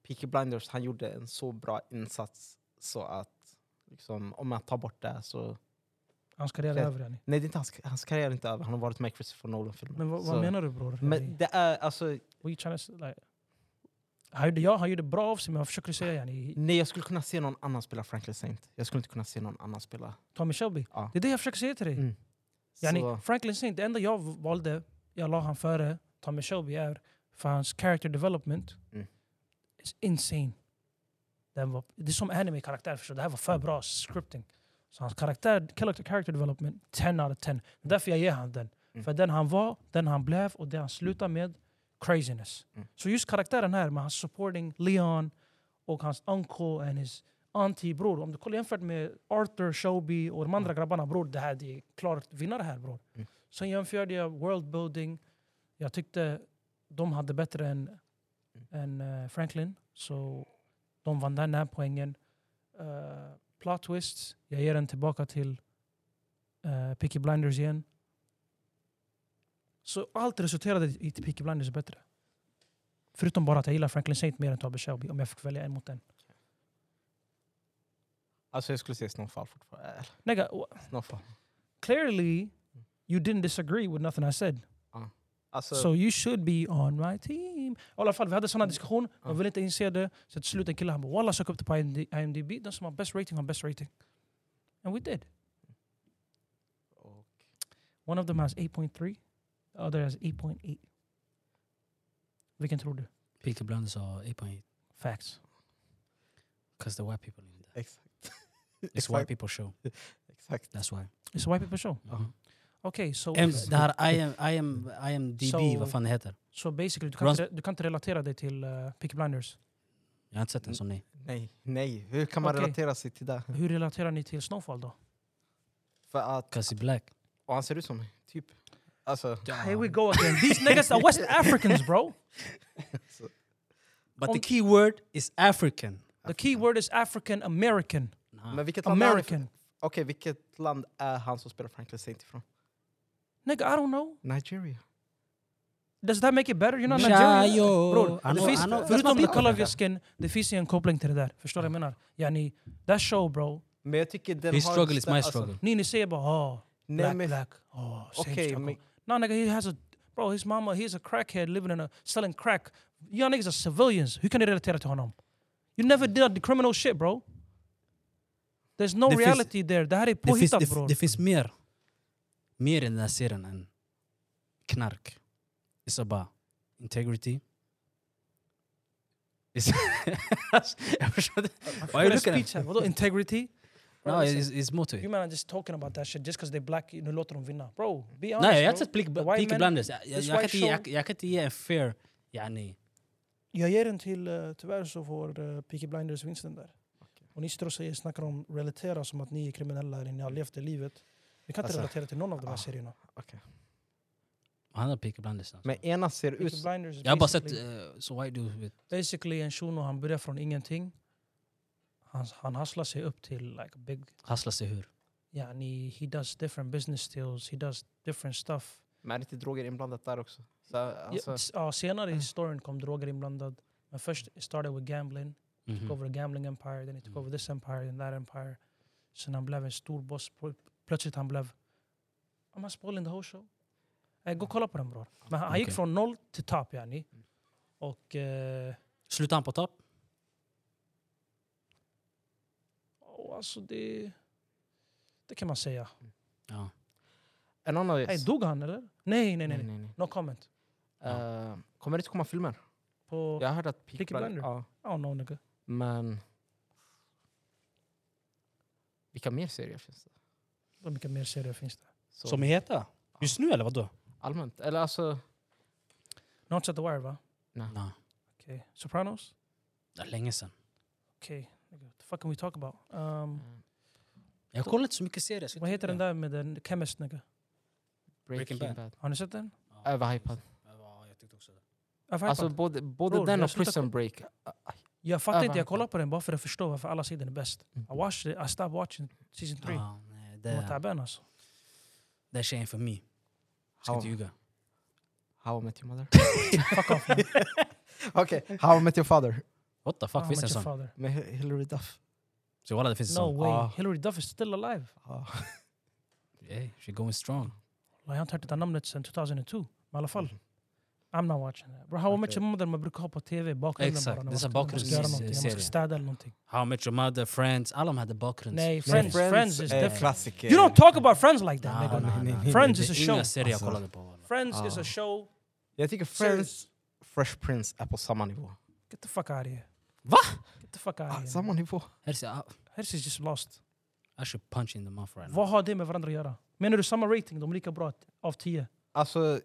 Peaky Blinders, han gjorde en så bra insats så att liksom, om man tar bort det så... Hans karriär är Okej. över yani. Nej, det är inte hans, hans karriär är inte över. Han har varit med i Christopher Nolan-filmer. Men vad, Så- vad menar du bror? Men det är alltså... What you trying to, like, han gjorde, ja, han gjorde bra av sig men vad försöker du säga yani? Nej, jag skulle kunna se någon annan spela Franklin Saint. Jag skulle inte kunna se någon annan spela... Tommy Shelby? Ja. Det är det jag försöker säga till dig. Mm. Yani, Så- Franklin Saint, det enda jag valde, jag la han före Tommy Shelby är för hans character development. Mm. It's insane. Den var, det är som anime-karaktär, förstår du? det här var för bra scripting. Så hans karaktär, character, character development, 10 out of 10. Det är därför jag ger han den. Mm. För den han var, den han blev och det han slutade med, craziness. Mm. Så just karaktären här med hans supporting Leon och hans uncle and his auntie, bror. Om du kollar jämfört med Arthur, Shelby och de andra grabbarna, bror, det här det är klart vinnare här, bror. Mm. Sen jämförde jag worldbuilding. Jag tyckte de hade bättre än, än eh, Franklin, så de vann den här poängen. Eh, plot twists, jag ger den tillbaka till uh, Peaky Blinders igen. Så allt resulterade i att Peaky Blinders är bättre. Förutom bara att jag gillar Franklin Saint mer än Tobbe Shelby om jag fick välja en mot en. Alltså jag skulle säga Snowfall fortfarande. Eller, Nigga, Snowfall. clearly you didn't disagree with nothing I said. Alltså, So you should be on my team. I alla fall, vi hade såna diskussioner. Ja. Man ville inte inse det. Så till slut en kille han bara “Walla, sök upp det på IMD- IMDB. Den som har best rating har best rating”. And we did. och, One of them has 8.3. The other has 8.8. Vilken tror du? Peaky Blinders har 8.8. Facts. Cause the white people in there. exakt, It's white people show. exakt. That's why. It's a white people show. Mhm. Okej, so... M, det här I am, I am, I am DB, So- vad fan det heter. Så basically, du kan, Runs- inte, du kan inte relatera dig till uh, Peaky Blinders. Jag har inte sett den som ni. Nej, nej. Hur kan man Okej. relatera sig till det? Hur relaterar ni till Snowfall då? För att, Cause he black. och han ser ut som mig, typ. Alltså, Here we go again. These niggas are West Africans bro! But Om- the key word is African. The key word is African American. Nah. men vilket land är han ifrån? American. Okej, vilket land är han som spelar Franklin Saint ifrån? Nigga, I don't know. Nigeria. Does that make it better? You're not Tja, Nigerian. jo. Bror, I det know- I finns- know- fast man Förutom the blir color of av your skin, det finns ju en koppling till det där. Förstår du vad jag menar? Yani, that show bro. Men jag tycker den His har struggle is stä- my alltså, struggle. Ni, ni säger bara oh, nej, black, men- black. Oh, same Okej, struggle. men- No nigga, he has a... Bro, his mama, he's a crackhead living in a... Selling crack. Y'all niggas are civilians. Hur kan ni relatera till honom? You never did the criminal shit bro. There's no Det finns- reality there. Det här är Det finns, påhittat det, bror. det finns mer. Mer i den här serien än knark. It's about integrity. It's jag förstår inte. Why are you What is looking at speech här? Vadå integrity? No, Bro, listen. it's, it's mot You man are just talking about that shit just because they're black, nu låter de vinna. Bro, be honest Nej, jag har bro. sett Peaky The white men- Blinders. Jag, jag, jag, this kan white inte, show- ge- jag, jag kan inte ge en fair... Yani, Jag ger den till, uh, tyvärr så får uh, Peaky Blinders vinsten där. Och ni sitter och säger, snackar om relatera som att ni är kriminella eller ni har levt det livet. Vi kan inte Alltså, relatera till någon av de här ah, serierna. han har Peaky Blinders. alltså. Men ena ser ut... Peaky Blinders is Jag har bara sett basically, uh, So Why Do with basically en shuno, han börjar från ingenting. Han, han hustlar sig upp till like big, Hassla sig hur. yeah, he, he does different business deals, he does different stuff. Men är det inte droger inblandat där också? Så, alltså, Ja, s- ja, senare i Mm. storyn kom droger inblandad. Men först it started with gambling. took Mhm. over the gambling empire, then he took Mm. over this empire, then that empire. Sen han blev en stor boss. Pl- Plötsligt han blev... Am I spoiling the whole show? Eh, gå och kolla på den bror. Men han, han gick Okej. från noll till topp yani. Och... Eh, Slutar han på topp? oh, alltså det... Det kan man säga. Ja. en annan... Hey, dog han eller? Nej, nej, nej. nej, nej. nej, nej. No comment. Eh, kommer det inte komma filmer? På... Jag har hört att Peaky, Peaky Blinders- Blinders? Ja, I don't know nigga. men... Vilka mer serier finns det? Hur mycket mer serier finns det? Så, är heta? Just nu eller vadå? Allmänt? Eller alltså... Ni har inte sett The Wire va? Nej, Okej. Sopranos? det är länge sedan. Okej. nigga. What the fuck can we talk about? Um, eh, Jag kollar inte så mycket serier. så vad jag heter vet den inte. där med den chemist nigga? Breaking Breaking Bad. Bad. Har ni sett den? Ja. Överhypad. Ja, jag tyckte också det. I've hyped Alltså den. både, både Bror, den jag och slutar Prison Break. Jag fattar inte, Överhypad. jag kollar på den bara för att förstå varför alla sidor är bäst. Mm. I watched it, I stopped watching season 3. Ja, nej, Den var det, taben alltså. det är tjejen för mig. Ska How, inte ljuga. how I Met Your Mother. Fuck off man. Okej, How I Met Your Father. What the fuck, Ah, finns det en Met sån? Your father. Med Hi- Hillary Duff. Så walla, det finns en No sån. way, Ah. Hillary Duff is still alive. Ja. Hey, she going strong. Jag har inte hört det där namnet sedan 2002. Men i alla Mm. fall, I'm not watching that. Bro, How I Met Okej. Your Mother, man brukar ha på tv i bakgrunden Exakt, bara. när det är man så ska- man ska göra bakgrundsserie. någonting. Jag måste städa eller någonting. How I Met Your Mother, Friends. Alla de hade bakgrunds. Nej, Friends, Friends Friends is är different. klassiker. You don't talk about Friends like that. Nah, nigga. nah, nah. Friends Det is a är show. Inga serier jag Alltså. kollade på. walla. Friends is Ah. a show. Jag tycker Friends, Friends. Fresh Prince är på samma nivå. Get the fuck out of here. Va? Get the fuck out Ah, of here. samma nivå. Hersey, I, Hers is just lost. ah, I should punch you in the mouth right now. Vad har det med varandra att göra? Menar du samma rating, de är lika bra av 10? Alltså,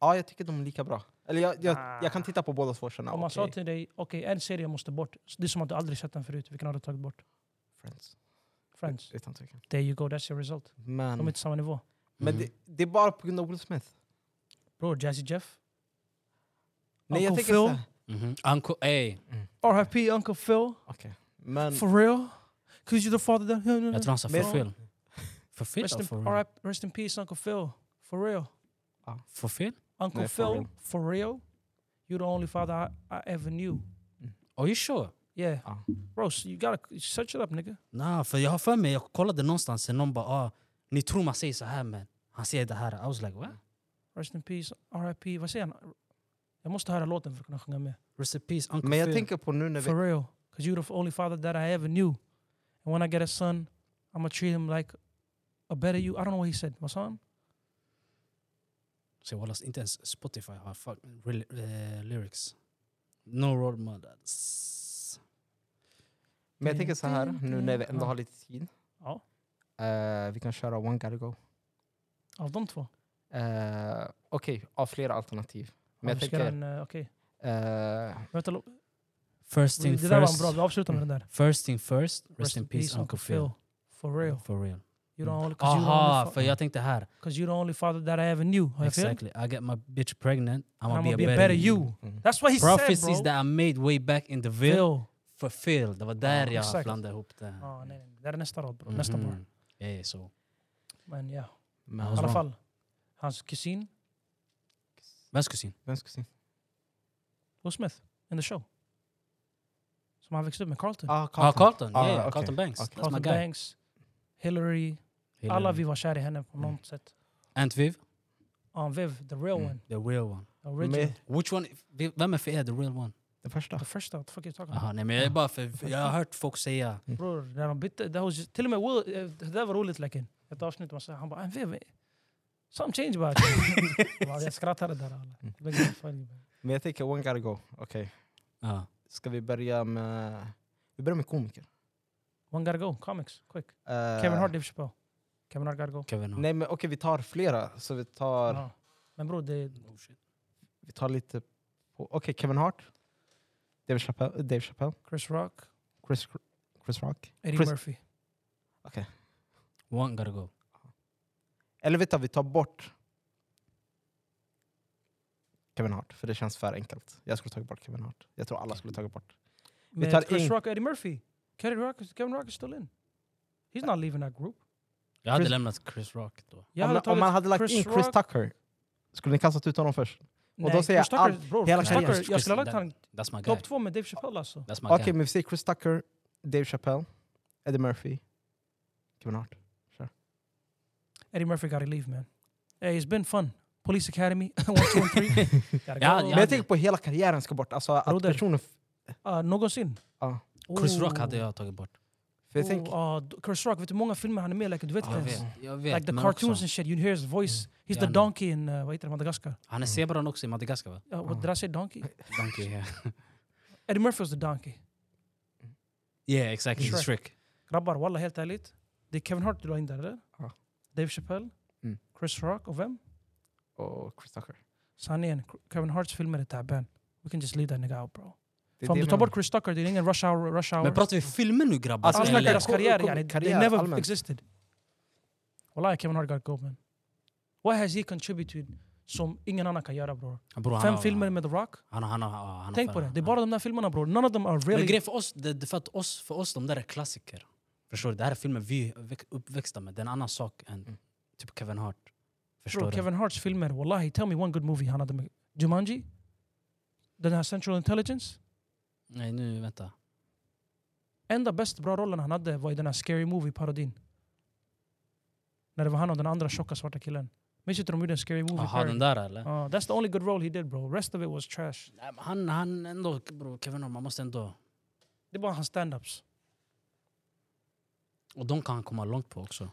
ja jag tycker de är lika bra. Eller jag, jag, Ah. jag kan titta på båda två och känna Om man sa okej, till dig, okej en serie måste bort. Dus Så Det är som att du aldrig sett den förut, vilken har du tagit bort? Friends. Friends. Utan tvekan. There you go, that's your result. Men, De är inte samma nivå. Mm-hmm. men det, det är bara på grund av Will Smith. Bror, Jazzy Jeff. Nej, jag Uncle tänker Phil. så här. Mhm. Uncle, ey. R.I.P. Uncle Phil. Men, For real? Cause you're the father that... Jag tror han sa Men- förfel. Förfel? Rest eller in, for all real? right, rest in peace Uncle Phil. For real. Förfel? Uncle Nej, Phil, for for real. real. You're the only father I, I ever knew. Are you sure? Yeah. Ja. Bro, so you gotta search it up nigga. Nah, för jag har för mig, jag kollade någonstans, sen någon bara ah, ni tror man säger så här men han säger det här. I was like what? Rest in peace, R.I.P. Vad säger han? Jag måste höra låten för att kunna sjunga med. Rest in peace, Uncle men jag Phil. tänker på nu när vi... For real. Because you're the only father that I ever knew. And when I get a son, I'm going to treat him like a better you. I don't know what he said. My son? Så wallas, inte ens Spotify har fuck, real, eh, lyrics. No role models. Men jag tänker så här, nu när vi ändå har lite tid. Ja. Eh, vi kan köra One Gotta Go. Av de två? Eh, Okej, av flera alternativ. Men jag Ja, vi ska tänker... den, eh, Okej. eh, Vänta, lo- First Det thing där var en first. bra. Vi avslutar med den där. First thing first, rest, in peace, Uncle Phil. For real. For real. You're the only, cause you're the Aha, only, för fa- jag tänkte här. 'cause you're the only father that I ever knew. Har jag fel? Exactly. I get my bitch pregnant, I'm I'ma gonna be a be better, you. mm. That's what he Prophecies said bro. that I made way back in the veil. Phil. Oh, Förfel, det var där Ja, jag exakt. blandade ihop det. Ja, nej, nej. Det där är nästa rad bro. Nästa bar. Mhm. Ey, så. Men ja, i Men, Hans alla barn. fall. Hans kusin. Vems kusin? Vems kusin? Will Smith in the show. Som han växte upp med, Carlton. Ah, Ja, ah, Carlton. Carlton. Ah, ja, ja, okej. Carlton Banks. Okej. That's my Carlton guy. Banks, Hillary. Alla vi var kära i henne på Mm. något sätt. Ant Viv, Ja, Viv, the real Mm. one. the real one. The original. Med- Which one? vi- Vem är för er the real one? Den första. The first what the fuck are you talking Uh-huh. about? Aha, nej, men jag, är bara för, jag har hört folk säga... Bror, när de bytte, det var just, till och med Will, eh, det där var roligt läcken. Ett avsnitt man säger, han bara "Ah, Viv, eh, some change about you." Jag bara, Jag skrattade där. alla. Mm. Det var funny, man. Men jag tänker One Gotta Go. Okej, Ja. ska vi börja med... Vi börjar med komiker. One gotta go, comics, quick. Eh, Kevin Hart, Dave Chappelle. Kevin Hart gotta go. Kevin Hart. Nej men okej, vi tar flera. Så vi tar, Ja. Men bror, det, Oh, shit. vi tar lite... på- Okej, Kevin Hart. Dave Chappelle. Dave Chappelle Chris Rock, Chris, Chris Rock. Eddie Chris- Murphy. One gotta go. Eller vet du, vi tar bort Kevin Hart, för det känns för enkelt. Jag skulle tagit bort Kevin Hart. Jag tror alla skulle tagit bort. Med tar Chris in- Rock och Eddie Murphy. Kevin Rock, is- Kevin Rock is still in. He's not leaving that group. Jag hade Chris- lämnat Chris Rock då. Jag om, hade om tagit man hade lagt Chris in Chris Rock- Tucker, skulle ni kastat ut honom först? Nej, då säger Chris jag Tucker, allt- bror, hela Chris karriären. Tucker, jag skulle ha Chris- lagt han That's my guy. topp två med Dave Chappelle alltså. That's my Okej, guy. men vi säger Chris Tucker, Dave Chappelle, Eddie Murphy, Kevin Hart. Eddie Murphy gotta leave man. Hey, it's been fun. Police Academy, one, two, and three. Gotta Ja, ja. go. Men jag tänker på hela karriären ska bort. Alltså att Broder. personen... Ah, någonsin. Ja. Chris Oh. Rock hade jag tagit bort. För jag Oh, tänker, ah, d- Chris Rock, vet du hur många filmer han är med i? Like, du vet Jag inte ens. vet, jag vet. Like the men cartoons också, Mm. and shit, you hear his voice. He's Ja, the nej. donkey in, uh, vad heter det, Madagaskar? han är zebran också i Madagaskar va? Uh, Ja. what did I say, donkey? Donkey, yeah. Eddie Murphy was the donkey. yeah, exactly. Shrek. Shrek. Shrek. Grabbar, walla helt ärligt. Det är Kevin Hart du la in där eller? Ja. Dave Chappelle, Mm. Chris Rock och vem? och Chris Tucker. Sanningen, Kevin Harts filmer är taben. We can just leave that nigga out bro. Det är För om det du jag tar menar. bort Chris Tucker, det är ingen rush hour. Rush hour. Men pratar vi filmer nu grabbar? Alltså, Alltså, vi snackar Eller- deras kom- karriär, kom- yani, يعني, they karriär never allmänt. existed. Wallahi, Kevin Hart got go man. What has he contributed som ingen annan kan göra bror? Bror, han Fem har- filmer med The Rock? Han, har- han, har- ja, han, har Tänk fan- på det, det är han- bara de där filmerna bror. None of them are Men really... grejen för oss, det, det är för, att oss, för oss, de där är klassiker. Förstår du? Det här är filmer vi är väx- uppväxta med. Det är en annan sak än Mm. typ Kevin Hart. Förstår Bror, du? Kevin Harts filmer, wallahi, tell me one good movie han hade med. Jumanji? Den här Central Intelligence? Nej, nu vänta. Enda bäst bra rollen han hade var i den här Scary Movie-parodin. När det var han och den andra tjocka svarta killen. Minns inte de gjorde en Scary Jaha, Movie-parody? den där eller? Ja, that's the only good role he did bro. Rest of it was trash. Nej, men han, han ändå, bro, Kevin Hart, man måste ändå... Det är bara hans stand-ups. Och de kan han komma långt på också.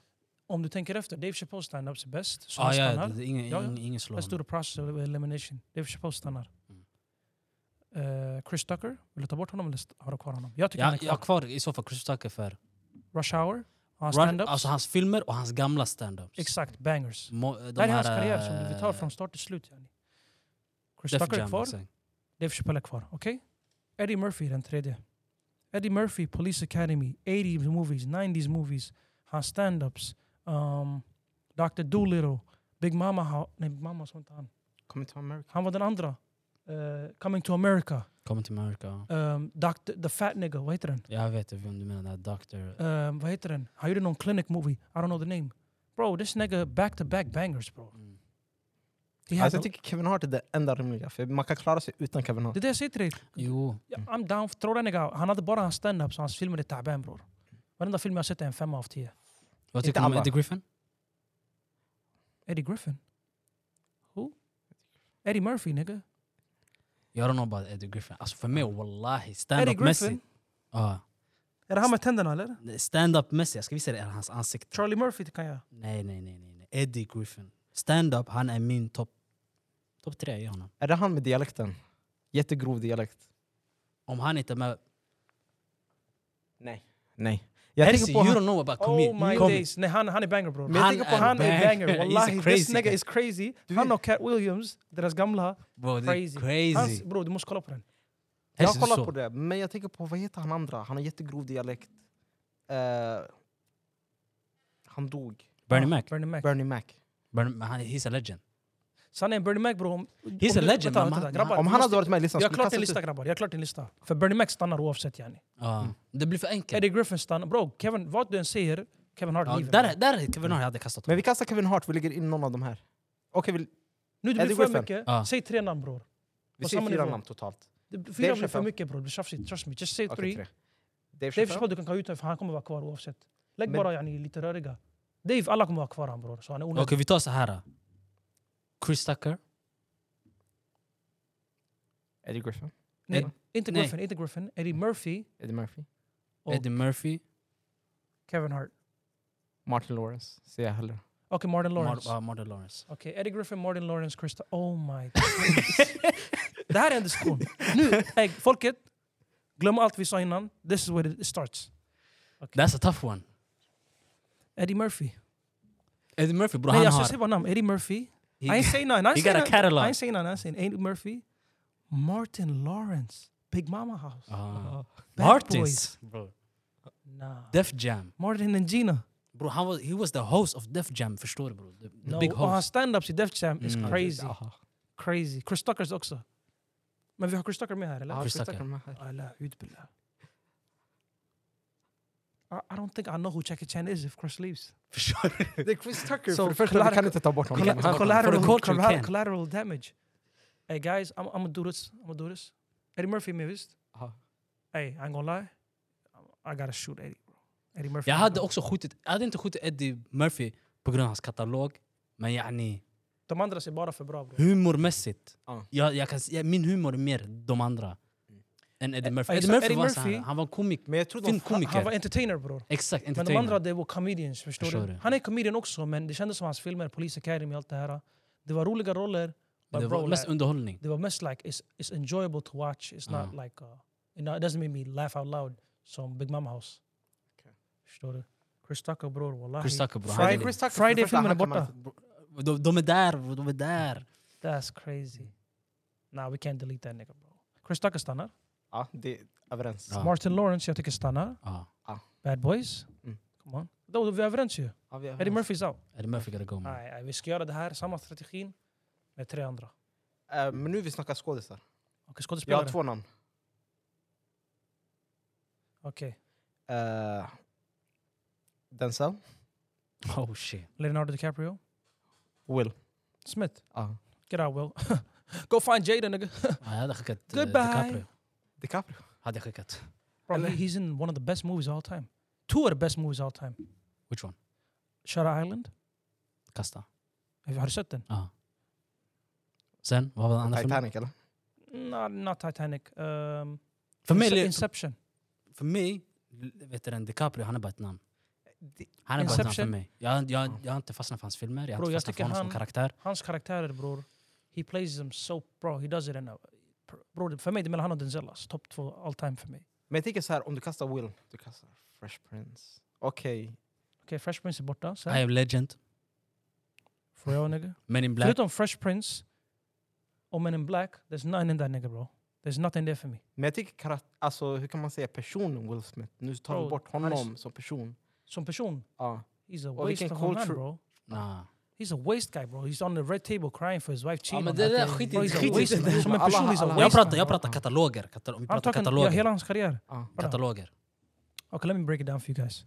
Om du tänker efter, Dave Chappelle stand-ups är bäst. Så Ah, han ja, stannar. det, det, är ingen, Ja, ja. ingen, ingen slår Let's do honom. the process of elimination. Dave Chappelle stannar. Mm. Eh, Chris Tucker, vill du ta bort honom eller st- har du kvar honom? Jag tycker han Ja, är jag har kvar. kvar i så fall Chris Tucker för Rush Hour, hans Run, stand-ups. alltså hans filmer och hans gamla standups. Exakt, bangers. Mo- de det här är hans karriär eh, som vi tar från start till slut. Yani. Chris Def Tucker är Jam, alltså. kvar, exakt. Dave Chappelle är kvar. Okej? Eddie Murphy är den tredje. Eddie Murphy, Police Academy, 80s movies, 90s movies, hans stand-ups, um, Dr. Dolittle, Big Mama, ha- nej Big Mama sånt han. Kommer till America. Han var den andra. Eh, Coming to America. Coming to America. ja. Um, Dr. The Fat Nigga, vad heter den? Jag vet vem du menar, Doctor... Um, vad heter den? Han gjorde någon clinic movie. I don't know the name. Bro, this nigga back-to-back bangers bro. Mm. He had Alltså, no- jag tycker Kevin Hart är det enda rimliga, för man kan klara sig utan Kevin Hart. det är det jag säger till dig. Jo, Ja, I'm down, throw den nigga out. Han hade bara hans stand-up så hans filmer är taben bror. Varenda film jag sett är en femma av tio. vad Inte tycker du om alla. Eddie Griffin? Eddie Griffin? Who? Eddie Murphy nigga. Jag don't know about Eddie Griffin. Alltså för mig, wallahi, Eddie stand-up-mässigt. Griffin? Ja. Är det han med tänderna eller? Stand-up-mässigt, jag ska visa dig hans ansikte. Charlie Murphy det kan jag. Nej, nej, nej. nej, nej. Eddie Griffin. Stand-up, han är min topp top tre i honom. Är det han med dialekten? Jättegrov dialekt. Om han inte är med... Nej. Nej. Jag Jag Hersey, tänker på you han, don't know about Oh comedian. my Kom- days. Nej han, han är banger bror. Men Han, jag jag Han tänker på är- han. han är banger. banger. He's Wallahi a crazy this nigga guy. is crazy. Du Han vet- och Cat Williams, deras gamla. Bro, det Crazy. är crazy. Hans, bror du måste kolla på den. Jag Hersey, har du kollat såg. på det, men jag tänker på vad heter han andra? Han har jättegrov dialekt. Eh, han dog. Bernie Ah, Mac. Bernie Mac. Bernie Mac. Bernie, men han, he's a legend. Sanningen Bernie Mac bror. om- He's om a du- legend, vänta, man. vänta, Han- grabbar, Om du han hade måste- varit med i listan Jag har skulle klart kastat en ut- lista grabbar, jag har klart en lista. För Bernie Mac stannar oavsett yani. Ja. Det blir för enkelt. Hmm. Eddie Griffin stannar. Bro, Kevin, vad du än säger, Kevin Hart Ja, lever. där, där Kevin Hart hade kastat Men honom. vi kastar Kevin Hart, vi ligger in någon av de här. Okej, vi Nu det blir Eddie för Griffin. mycket. Ah. Säg tre namn bror. Vi Vad säger sa man fyra ifrån? namn totalt. Det- Fyra blir för Chappelle. mycket bror. Det blir tjafsigt. Trust me. Just say Okej, three. tre. Dave Dave Chappelle. Chappelle du kan ta ut honom för han kommer vara kvar oavsett. Lägg Men- bara yani, lite röriga. Dave, alla kommer vara kvar han bror. Så han är Okej, onödig. vi tar så här. Chris Tucker. Eddie Griffin. Nej, Ed- inte nej. Griffin, inte Griffin. Eddie Murphy, Eddie Murphy. Och- Eddie Murphy. Kevin Hart. Martin Lawrence. Ser jag hellre. Okej, Martin Mar- ah. Lawrence. ja, Martin Lawrence. Okej, Eddie Griffin, Martin Lawrence, Krista. Oh my goodness. Det här är en diskussion. Nu, ey, folket, glöm allt vi sa innan. This is where it starts. That's a tough one. Eddie Murphy. Eddie Murphy bror, Nej, han alltså, jag säger har... bara namn. Eddie Murphy. I He, ain't say none. I he ain't got say a none. I catalog. ain't say none. I ain't say none. Eddie Murphy. Martin Lawrence. Big Mama House. Ah. Bad Artists. Bro. Boys. Nah. Def Jam. Martin and Gina. Bro, han was, he was the host of Def Jam, förstår du bror? The, the No. big Och hans host. stand-ups i Def Jam is Mm. crazy. Aha. Crazy. Chris Tuckers också. Men vi har Chris Tucker med här eller? Ja, Chris Chris Tucker. Tucker med här. Alla, utbilda. I, I don't think I know who Jackie Chan is if Chris leaves. Förstår du? Det är Chris Tucker. Så För det första, Clark- vi kan inte ta bort honom. Clark- Han- Clark- collateral, the culture, collateral, Ken. collateral damage. Hey guys, I'm, I'm gonna do this. I'm gonna do this. Eddie Murphy med visst? Ah. Aha. Hey, I ain't gonna lie. I gotta shoot Eddie bro. Eddie Murphy. Jag hade också skjutit... Jag hade inte skjutit Eddie Murphy på grund av hans katalog. Men yani, De andra ser bara för bra bro. humormässigt. آه. Ja. Jag, jag kan, jag, min humor är mer de andra än Eddie Eh, Murphy. jag Eddie sa Murphy آه، Eddie var såhär, Murphy- han var komik, Men jag tror fin de... Han var er komiker. entertainer bror. Exakt, Men de andra entertainer. det var comedians, förstår, Förstår du? du. Han är comedian också men det kändes som hans filmer, Police Academy och allt det här. Det var roliga roller. Det but bro, var mest like- underhållning. they were missed like it's it's enjoyable to watch. It's not Ah. like uh, you know it doesn't make me laugh out loud. Some Big Mama House. Okay. Förstår du? Chris Tucker bror, wallahi. Chris Tucker bror. han Friday, är- Chris Tucker. för Friday det första, filmen han är kan man borta. inte- De, de är där, bro, de är där. That's crazy. Nah, we can't delete that nigga bro. Chris Tucker stannar. Ja, det är överens. Ja. Ah. Martin Lawrence jag tycker stannar. Ja, Bad Boys. Mm. Come on. Då vi är överens ju. Ja, vi är Eddie överens. Murphys out. آه، Eddie Murphy gotta go man. Nej, nej, vi ska göra det här, samma strategin med tre andra. Eh, Men nu vi snackar skådisar. Okej, Jag skådespelare. har två namn. Okej. Eh, Denzel. Oh shit. Leonardo DiCaprio. Will. Smith. Ja. Get out Will. Go find Jada nigga. Ja, Jag hade skickat eh, Goodbye. DiCaprio. DiCaprio. Hade jag skickat. Bro, Eller- he- he's in one of the best movies of all time. Two of the best movies of all time. Which one? Shutter Island. Kasta. Have you heard of that? Sen, vad var den andra filmen? Titanic eller? No, not Titanic. Um, För Ince- mig, Inception. för mig, vet du den, DiCaprio han är bara ett namn. Det- Han är bara ett namn för Inception. mig. Jag, jag, jag har inte fastnat för hans filmer, jag har Bro, inte jag fastnat för tycker honom som han- karaktär. Hans karaktärer bror. He plays them so... Bro, he does it in a... Bro, det- för mig det är mellan han och Denzel. alltså. Topp två all time för mig. Men jag tänker så här, om du kastar Will, du kastar Fresh Prince. Okej. Okej, Fresh Prince är borta. I Sen, am legend, for real nigga. men in black. Förutom Fresh Prince och Men in Black, there's nothing in that nigga bro. There's nothing there for me. Men jag tycker, karat- alltså, hur kan man säga personen Will Smith? Nu tar Bro, vi bort han är honom som person. Som person, Ja. he's a Och waste vilken of a man culture- bro. Nah. He's a waste guy bro. He's on the red table crying for his wife cheating. men on det her. där Bro, skit i- he's a skit i waste det. man. Som en Alla- person, he's a alla- waste Jag pratar, man, jag bro. pratar kataloger. Katal vi I'm pratar talking yeah, hela kataloger. hans karriär. ja. kataloger. Okay, let me break it down for you guys.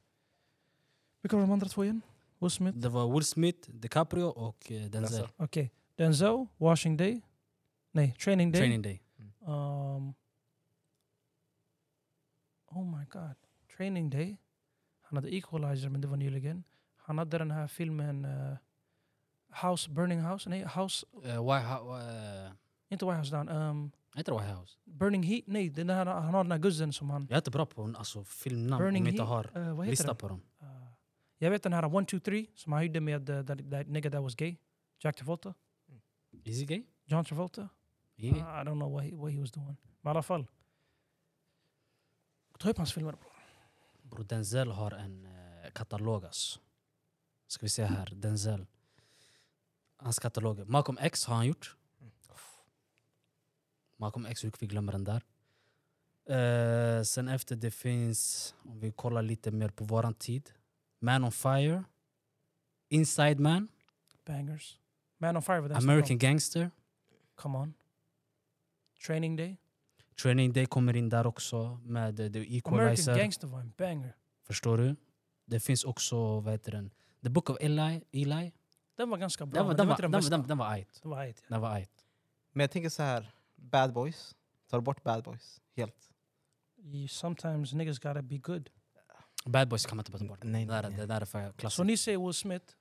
Vilka var de andra två igen? Will Smith? Det var Will Smith, DiCaprio och eh, Denzel. Denzel. Okej. Denzel, Washing Day. Nej, Training Day. Training Day. Um, oh my god. Training Day. Han hade Equalizer, men det var nyligen. Han hade den här filmen eh, House, Burning House. Nej, House, Eh, White House... eh, inte White House Down. Um, Heter det White House? Burning Heat? Nej, den här, han har den här guzzen som han... Jag är inte bra på alltså, filmnamn Burning om jag inte Heat? har eh, vad heter lista den? på dem. Uh, jag vet den här One Two Three som han gjorde med uh, that, that nigga that was gay. Jack Travolta. Is he gay? John Travolta. Ah, Är he gay? I don't know what he, what he was doing. Men i alla fall. Ta upp hans filmer. bro. Bror Denzel har en eh, katalog alltså. Ska vi se här, Denzel. Hans kataloger. Malcolm X har han gjort. Malcolm X, hur vi glömmer den där. Eh, sen efter det finns, om vi kollar lite mer på våran tid. Man on Fire. Inside Man. Bangers. Man on Fire var den som American Gangster. kom. Come on. Training Day. Training Day kommer in där också med eh, The American Equalizer. Gangster var en banger. Förstår du? Det finns också, vad heter den? The Book of Eli. Eli. Den var ganska bra, Den var, men den den var, inte den, den var- bästa. den, den var ajt. Den var ajt, ja. Den var ajt. Men jag tänker så här, bad boys. Tar bort bad boys helt? You- Sometimes niggas gotta be good. Bad Boys kan man inte bara ta bort. Nej, Det där, nej, nej. det där är för Så klassiskt. ni säger Will Smith.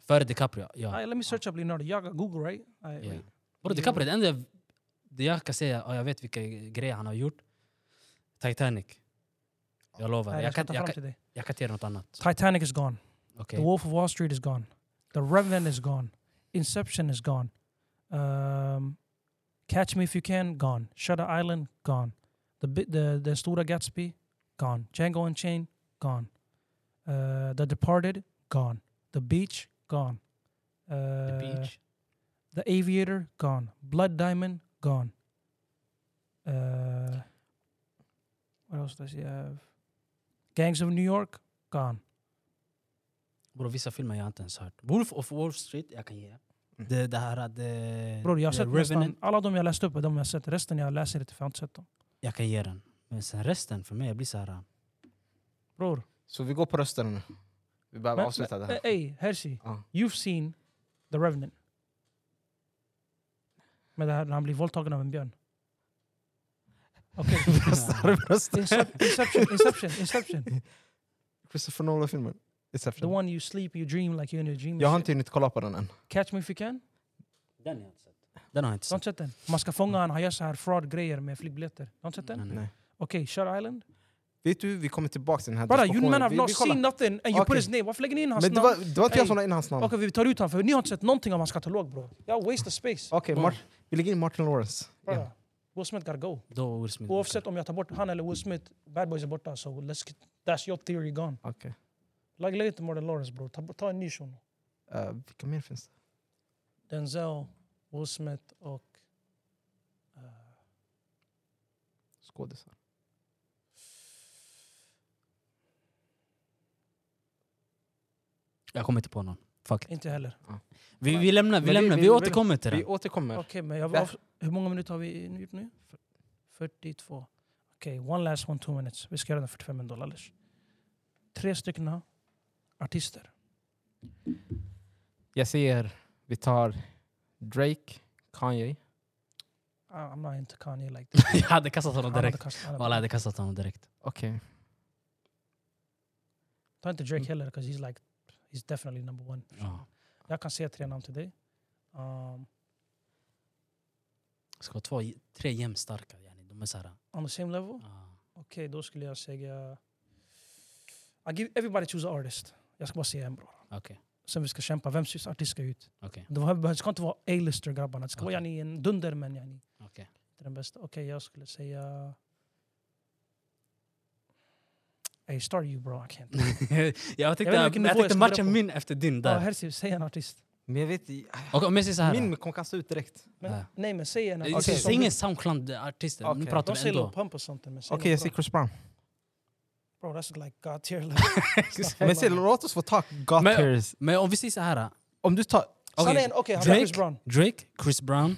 Före DiCaprio, ja. Ay, let me search up Leonardo. Jag got Google right? Ay, Ja. wait. Bror, DiCaprio, det enda jag- det jag kan säga, ja, jag vet vilka grejer han har gjort. Titanic. Jag lovar. Nej, Jag jag ska kan, ta jag, fram kan, till dig. jag kan inte göra något annat. Titanic is gone. Okej. The Wolf of Wall Street is gone. The Revenant is gone. Inception is gone. Um, Catch Me If You Can gone. Shutter Island gone. The Bi- the the Stora Gatsby gone. Django Unchained gone. Uh, the Departed gone. The Beach gone. Uh, The Beach. The Aviator gone. Blood Diamond gone. Uh, what else does he have? Gangs of New York gone. Bror, vissa filmer jag inte ens hört. Wolf of Wall Street, jag kan ge. Det, det här... Det, Mm. Bror jag har det sett nästan Revenant, alla de jag läste upp är de jag har sett. Resten jag läser inte för jag har inte sett dem. jag kan ge den. Men sen resten, för mig, jag blir så här... Bror. Så vi går på rösterna nu. Vi behöver men- avsluta det eh, här. Ey, Hershey. Ja. You've seen The Revenant. Men det här när han blir våldtagen av en björn. Okej. Röstar, röstar. Incep- Inception, Inception, Inception. Christopher Nolan-filmen. The Inception. one you sleep, you dream like you're in your dream. Jag har Shit. inte hunnit kolla på den än. Catch me if you can. Den har jag inte sett. Den har jag inte Du har sett. inte sett den? Man ska fånga han, han gör så här fraud-grejer med flygbiljetter. Du har inte sett den? Nej, Okej, nej. Nej. Shutter Island. Vet du, vi kommer tillbaka till den här Bara, you men have Vi- not vi kollar. seen nothing and you put Okej. his name. Varför lägger ni in hans Men det namn? var, det var inte Ey. jag som la in hans namn. Okej, Okej, vi tar ut honom för ni har inte sett någonting av hans katalog bro. Jag waste the space. Mart, vi lägger in Martin Lawrence. Bro, igen. Will Smith gotta go. Då Will Smith. Oavsett om jag tar bort han eller Will Smith, Bad Boys är borta. So let's get, that's your theory gone. Okej. Lägg lägg inte Martin Lawrence bro. Ta, bort- ta en ny shuno. Eh, vilka mer finns det? Denzel, Will Smith och... eh, Skådisar. Jag kommer inte på någon. Fuck. it. inte heller. Vi, vi lämnar, vi, Men vi- lämnar. vi- Vi, vi- återkommer till Vi det. återkommer. Okej, men jag vill Där. av, hur många minuter har vi nu- gjort nu? 42. Okej, one last one, two minutes. Vi ska göra den 45 dollar alldeles. Tre stycken artister. Jag säger, vi tar Drake, Kanye. I- Ah, I'm not into Kanye like this. Jag hade kastat honom Han hade direkt. kastat- han hade- Walla, Jag hade kastat honom direkt. Okej. Ta inte Drake heller, because he's like, he's definitely number one. Mm. Ja. Jag kan säga tre namn till dig. Um, Ska vara två, tre jämnstarka. yani. De är så här... on the same level? Okej, ah. då skulle jag säga... I give everybody choose an artist. Jag ska bara säga en bror. Okej. Sen vi ska kämpa, vems artist ska ut? Okej. Det var- det ska inte vara A-lister grabbarna, det ska Okej. vara yani, en dunderman. Yani. Okej. Inte den bästa. Okej, jag skulle säga... Hey, start you bro, I can't. jag Jag vet tänkte, inte vilken jag nivå jag tänkte ska matcha börja på. min efter din Ja, där. Herzi, säg en artist. Men jag vet, Okej, om jag säger så här. min kommer kasta ut direkt. Men, Ja. Nej men säg en Säg artist. Okej. som säg du- ingen Soundcloud-artist. Nu Okej. pratar De vi säger Lil ändå. Pump och sånt. men säg Okej, något jag bra. säger Chris Brown. Bro, that's like God tier level. Men se, låt oss få ta God Men- Tears. Men om vi säger så här. Om du tar... Okej, Sanningen, okej, han Drake? tar Chris Brown. Drake, Chris Brown.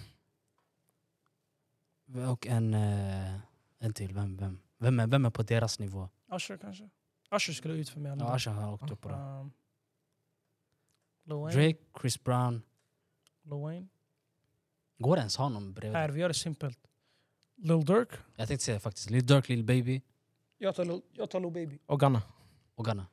Och en, eh, en till. Vem, vem? Vem, är, vem är på deras nivå? Usher kanske? Usher skulle ut för mig. Ja, Asha har åkt upp på det. Um, Lil Wayne? Drake, Chris Brown. Lil Wayne? Går det ens ha någon Här, bredvid? vi gör det simpelt. Lil Durk? Jag tänkte säga faktiskt Lil Durk, Lil Baby Jag tar Lil, jag tar Lil Baby. Och Ghana. och Ghana.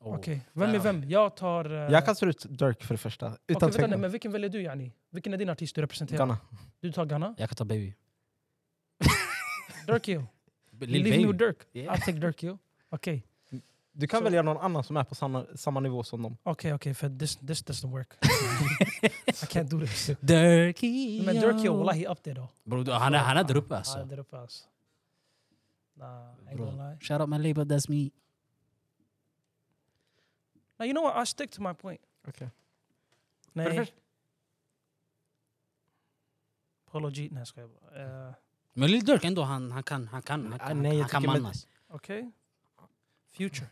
Oh. Okej, vem är Där har vem? Jag tar... eh, Jag kastar ut Dirk för det första. okej, Utan vänta, nej, tvekan. men vilken väljer du yani? Vilken är din artist du representerar? Ghana. Du tar Ghana? Jag kan ta Baby. Durk Hill. B- Leave Lil me with Baby. Durk. Yeah. I take Durk Hill. Okej, okej, Du kan Så- välja någon annan som är på samma, samma nivå som dem. okej, för this, this doesn't work. I can't do this. Durky. Men Durk Hill, wallahi up there though. Bro, du- han, är, han är där uppe Han är alltså. där uppe alltså. Nah, I ain't Bro. gonna lie. Shout out my label, that's me. Now you know what? I stick to my point. Okej. Nej. först- Polo G. Nej, ska jag bara. Eh, Men Lil Durk ändå, han, han kan, han kan, han Ah, kan, nej, jag han kan tycker med- mannas. Okej. Future.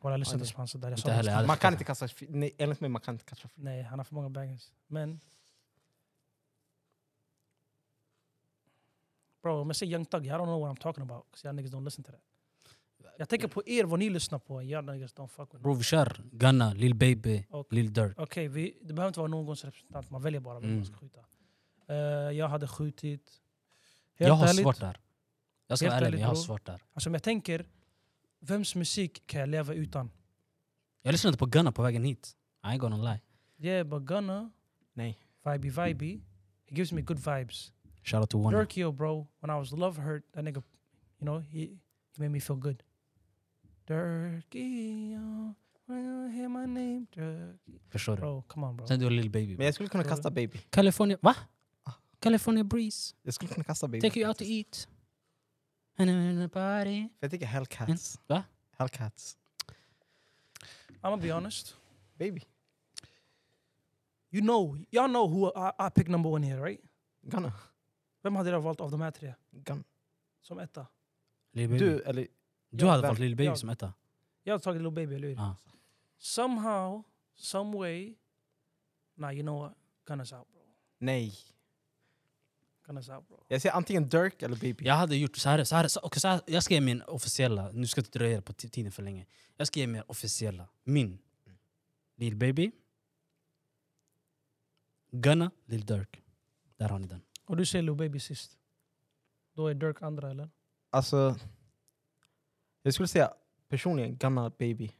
Walla, jag lyssnade inte på honom sådär. Jag Inte sa det heller, också. jag hade Man kan fattat. inte kasta... fi- Nej, enligt mig man kan inte kasta... fi- Nej, han har för många bangers. Men... Bro, om jag säger Young Thug, I don't know what I'm talking about. Because y'all niggas don't listen to that. Jag tänker på er, vad ni lyssnar på. Jag niggas don't fuck with me. Bror vi kör Gunna, Lil Baby, Och- Lil Durk. Okej, vi- det behöver inte vara någons representant. Man väljer bara vem Mm. man ska skjuta. Eh, jag hade skjutit... Helt Jag har ärligt, svårt där. Jag ska Helt vara ärlig, ärligt, jag har bror. svårt där. Alltså, om jag tänker, vems musik kan jag leva utan? Jag lyssnade på Gunna på vägen hit. I ain't gonna lie. Yeah, but Gunna, Nej. vibey vibey, he gives me good vibes. Shout out to Warner. Durkio, bro, when I was love hurt, that nigga, you know, he, he made me feel good. Durkio, when you hear my name, Durkio. Förstår du? Bro, come on bro. Sen du har Lil Baby. Men bro. jag skulle kunna Förstår kasta baby. California... Va? Ah. California Breeze. Jag skulle kunna kasta baby. Take you out to eat. And I'm in a party. För jag tycker Hellcats. Va? Hellcats. I'm gonna be honest. Baby. You know, y'all know who I, I picked number one here, right? Gunna. Vem hade jag valt av de här tre Gun. som etta? Lil Baby. Du Du, eller... jag- hade valt vem? Lil Baby Jag. som etta. Jag hade tagit Lil Baby, eller hur? Ah. Somehow, some way, nah, you know what? Gunna's out bro. Nej. Gunna's out bro. Jag säger antingen Dirk eller baby. Jag hade gjort så här, så här, så, okej, så här. Jag ska ge min officiella. Nu ska jag inte dröja på t- tiden för länge. Jag ska ge min officiella. Min. Lil Baby. Gunna, Lil Durk. Där har ni den. Och du säger Lil Baby sist. Då är Dirk andra eller? Alltså... Jag skulle säga personligen Gunna baby.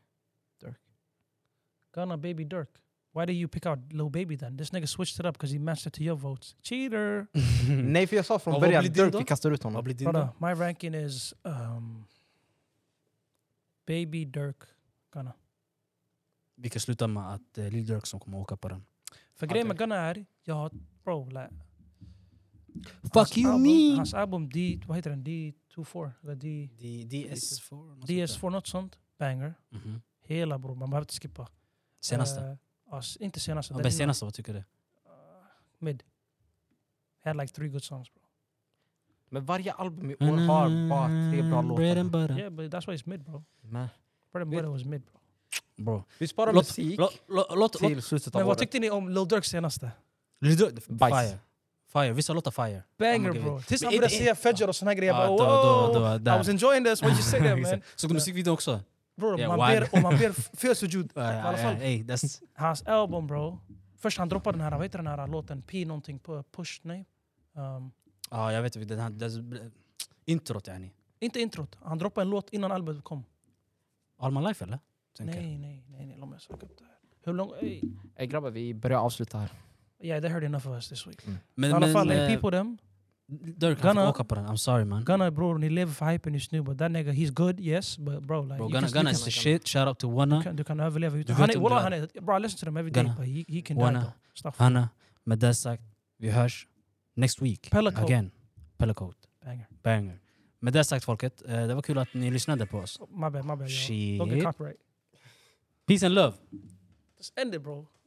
Gunna Baby Dirk. Why did you pick out Lil Baby then? This nigga switched it up because he matched it to your votes. Cheater! Nej för jag sa från Och Mm. vad början blir din Dirk då? vi kastar ut honom. Vad blir din Brother, då? my ranking is um, Baby Dirk Gunna. Vi kan sluta med att eh, Lil Durk som kommer åka på den. För grejen med Gunna är, jag har, bro, like, Fuck you album, mean! Hans album D, vad heter den? D24? Eller D, Alltså, D- DS4? något sånt där. DS4, något sånt. Banger. Mhm. Hela bror, man behöver inte skippa. Senaste? Eh, ja, s- inte senaste. Ja, den men innan. senaste, vad tycker du? Eh, mid. Had like three good songs bro. Men varje album i år Mm. har bara tre bra Bread and låtar. butter. Yeah, but that's why it's mid bro. Men Bread and Vet- butter was mid bro. Bro. Vi sparar Låt- musik Låt- låt- låt- låt- till slutet av Men vad året. tyckte ni om Lil Durks senaste? Lil Durk- Bajs. Fire. Fire. Vissa låtar fire. Banger Okej. bro. Tills Men han är började det- säga Fedger och såna här grejer. Ja, Jag Ah, då- bara, då- då- "Whoa, där." I was enjoying this, what you say there man? Såg du musikvideon också? Bror, Yeah, man why? ber om man ber f- fel sujud. Ja, I ja, alla ja, fall. ey, that's- Hans album bro. Först han droppade den här, vad heter den här låten? P någonting på Push, nej. Um, Ja, jag vet. Den här, that's- introt yani. inte introt. Han droppade en låt innan albumet kom. All my life eller? Tänker jag. Nej, nej, nej, nej. Låt mig söka upp det här. Hur lång... Ey. Ey grabbar, vi börjar avsluta här. Yeah, they heard enough of us this week. I Men, alla men fall, ey, eh, people them. Durk han får Ghana- åka på den. I'm sorry man. Gunna bror, ni lever för hypen just nu. But that nigga, he's good, yes. But bro, like... Bro, you Ghana, can- Ghana you is the shit. Shout out to can- Wana. Kan, du kan överleva utan... vet Han om är, wallah, du han är... Bro, I listen to them every day. Ghana. But he, he can Wana. die though. Stuff. Hanna, med det sagt, vi hörs next week. Pellicoat. Again. Pellicoat. Banger. Banger. Med det sagt folket, eh, det var kul att ni lyssnade på oss. My bad, my bad. yo. Don't get Shit. copyright. Peace and love! Just end it bro.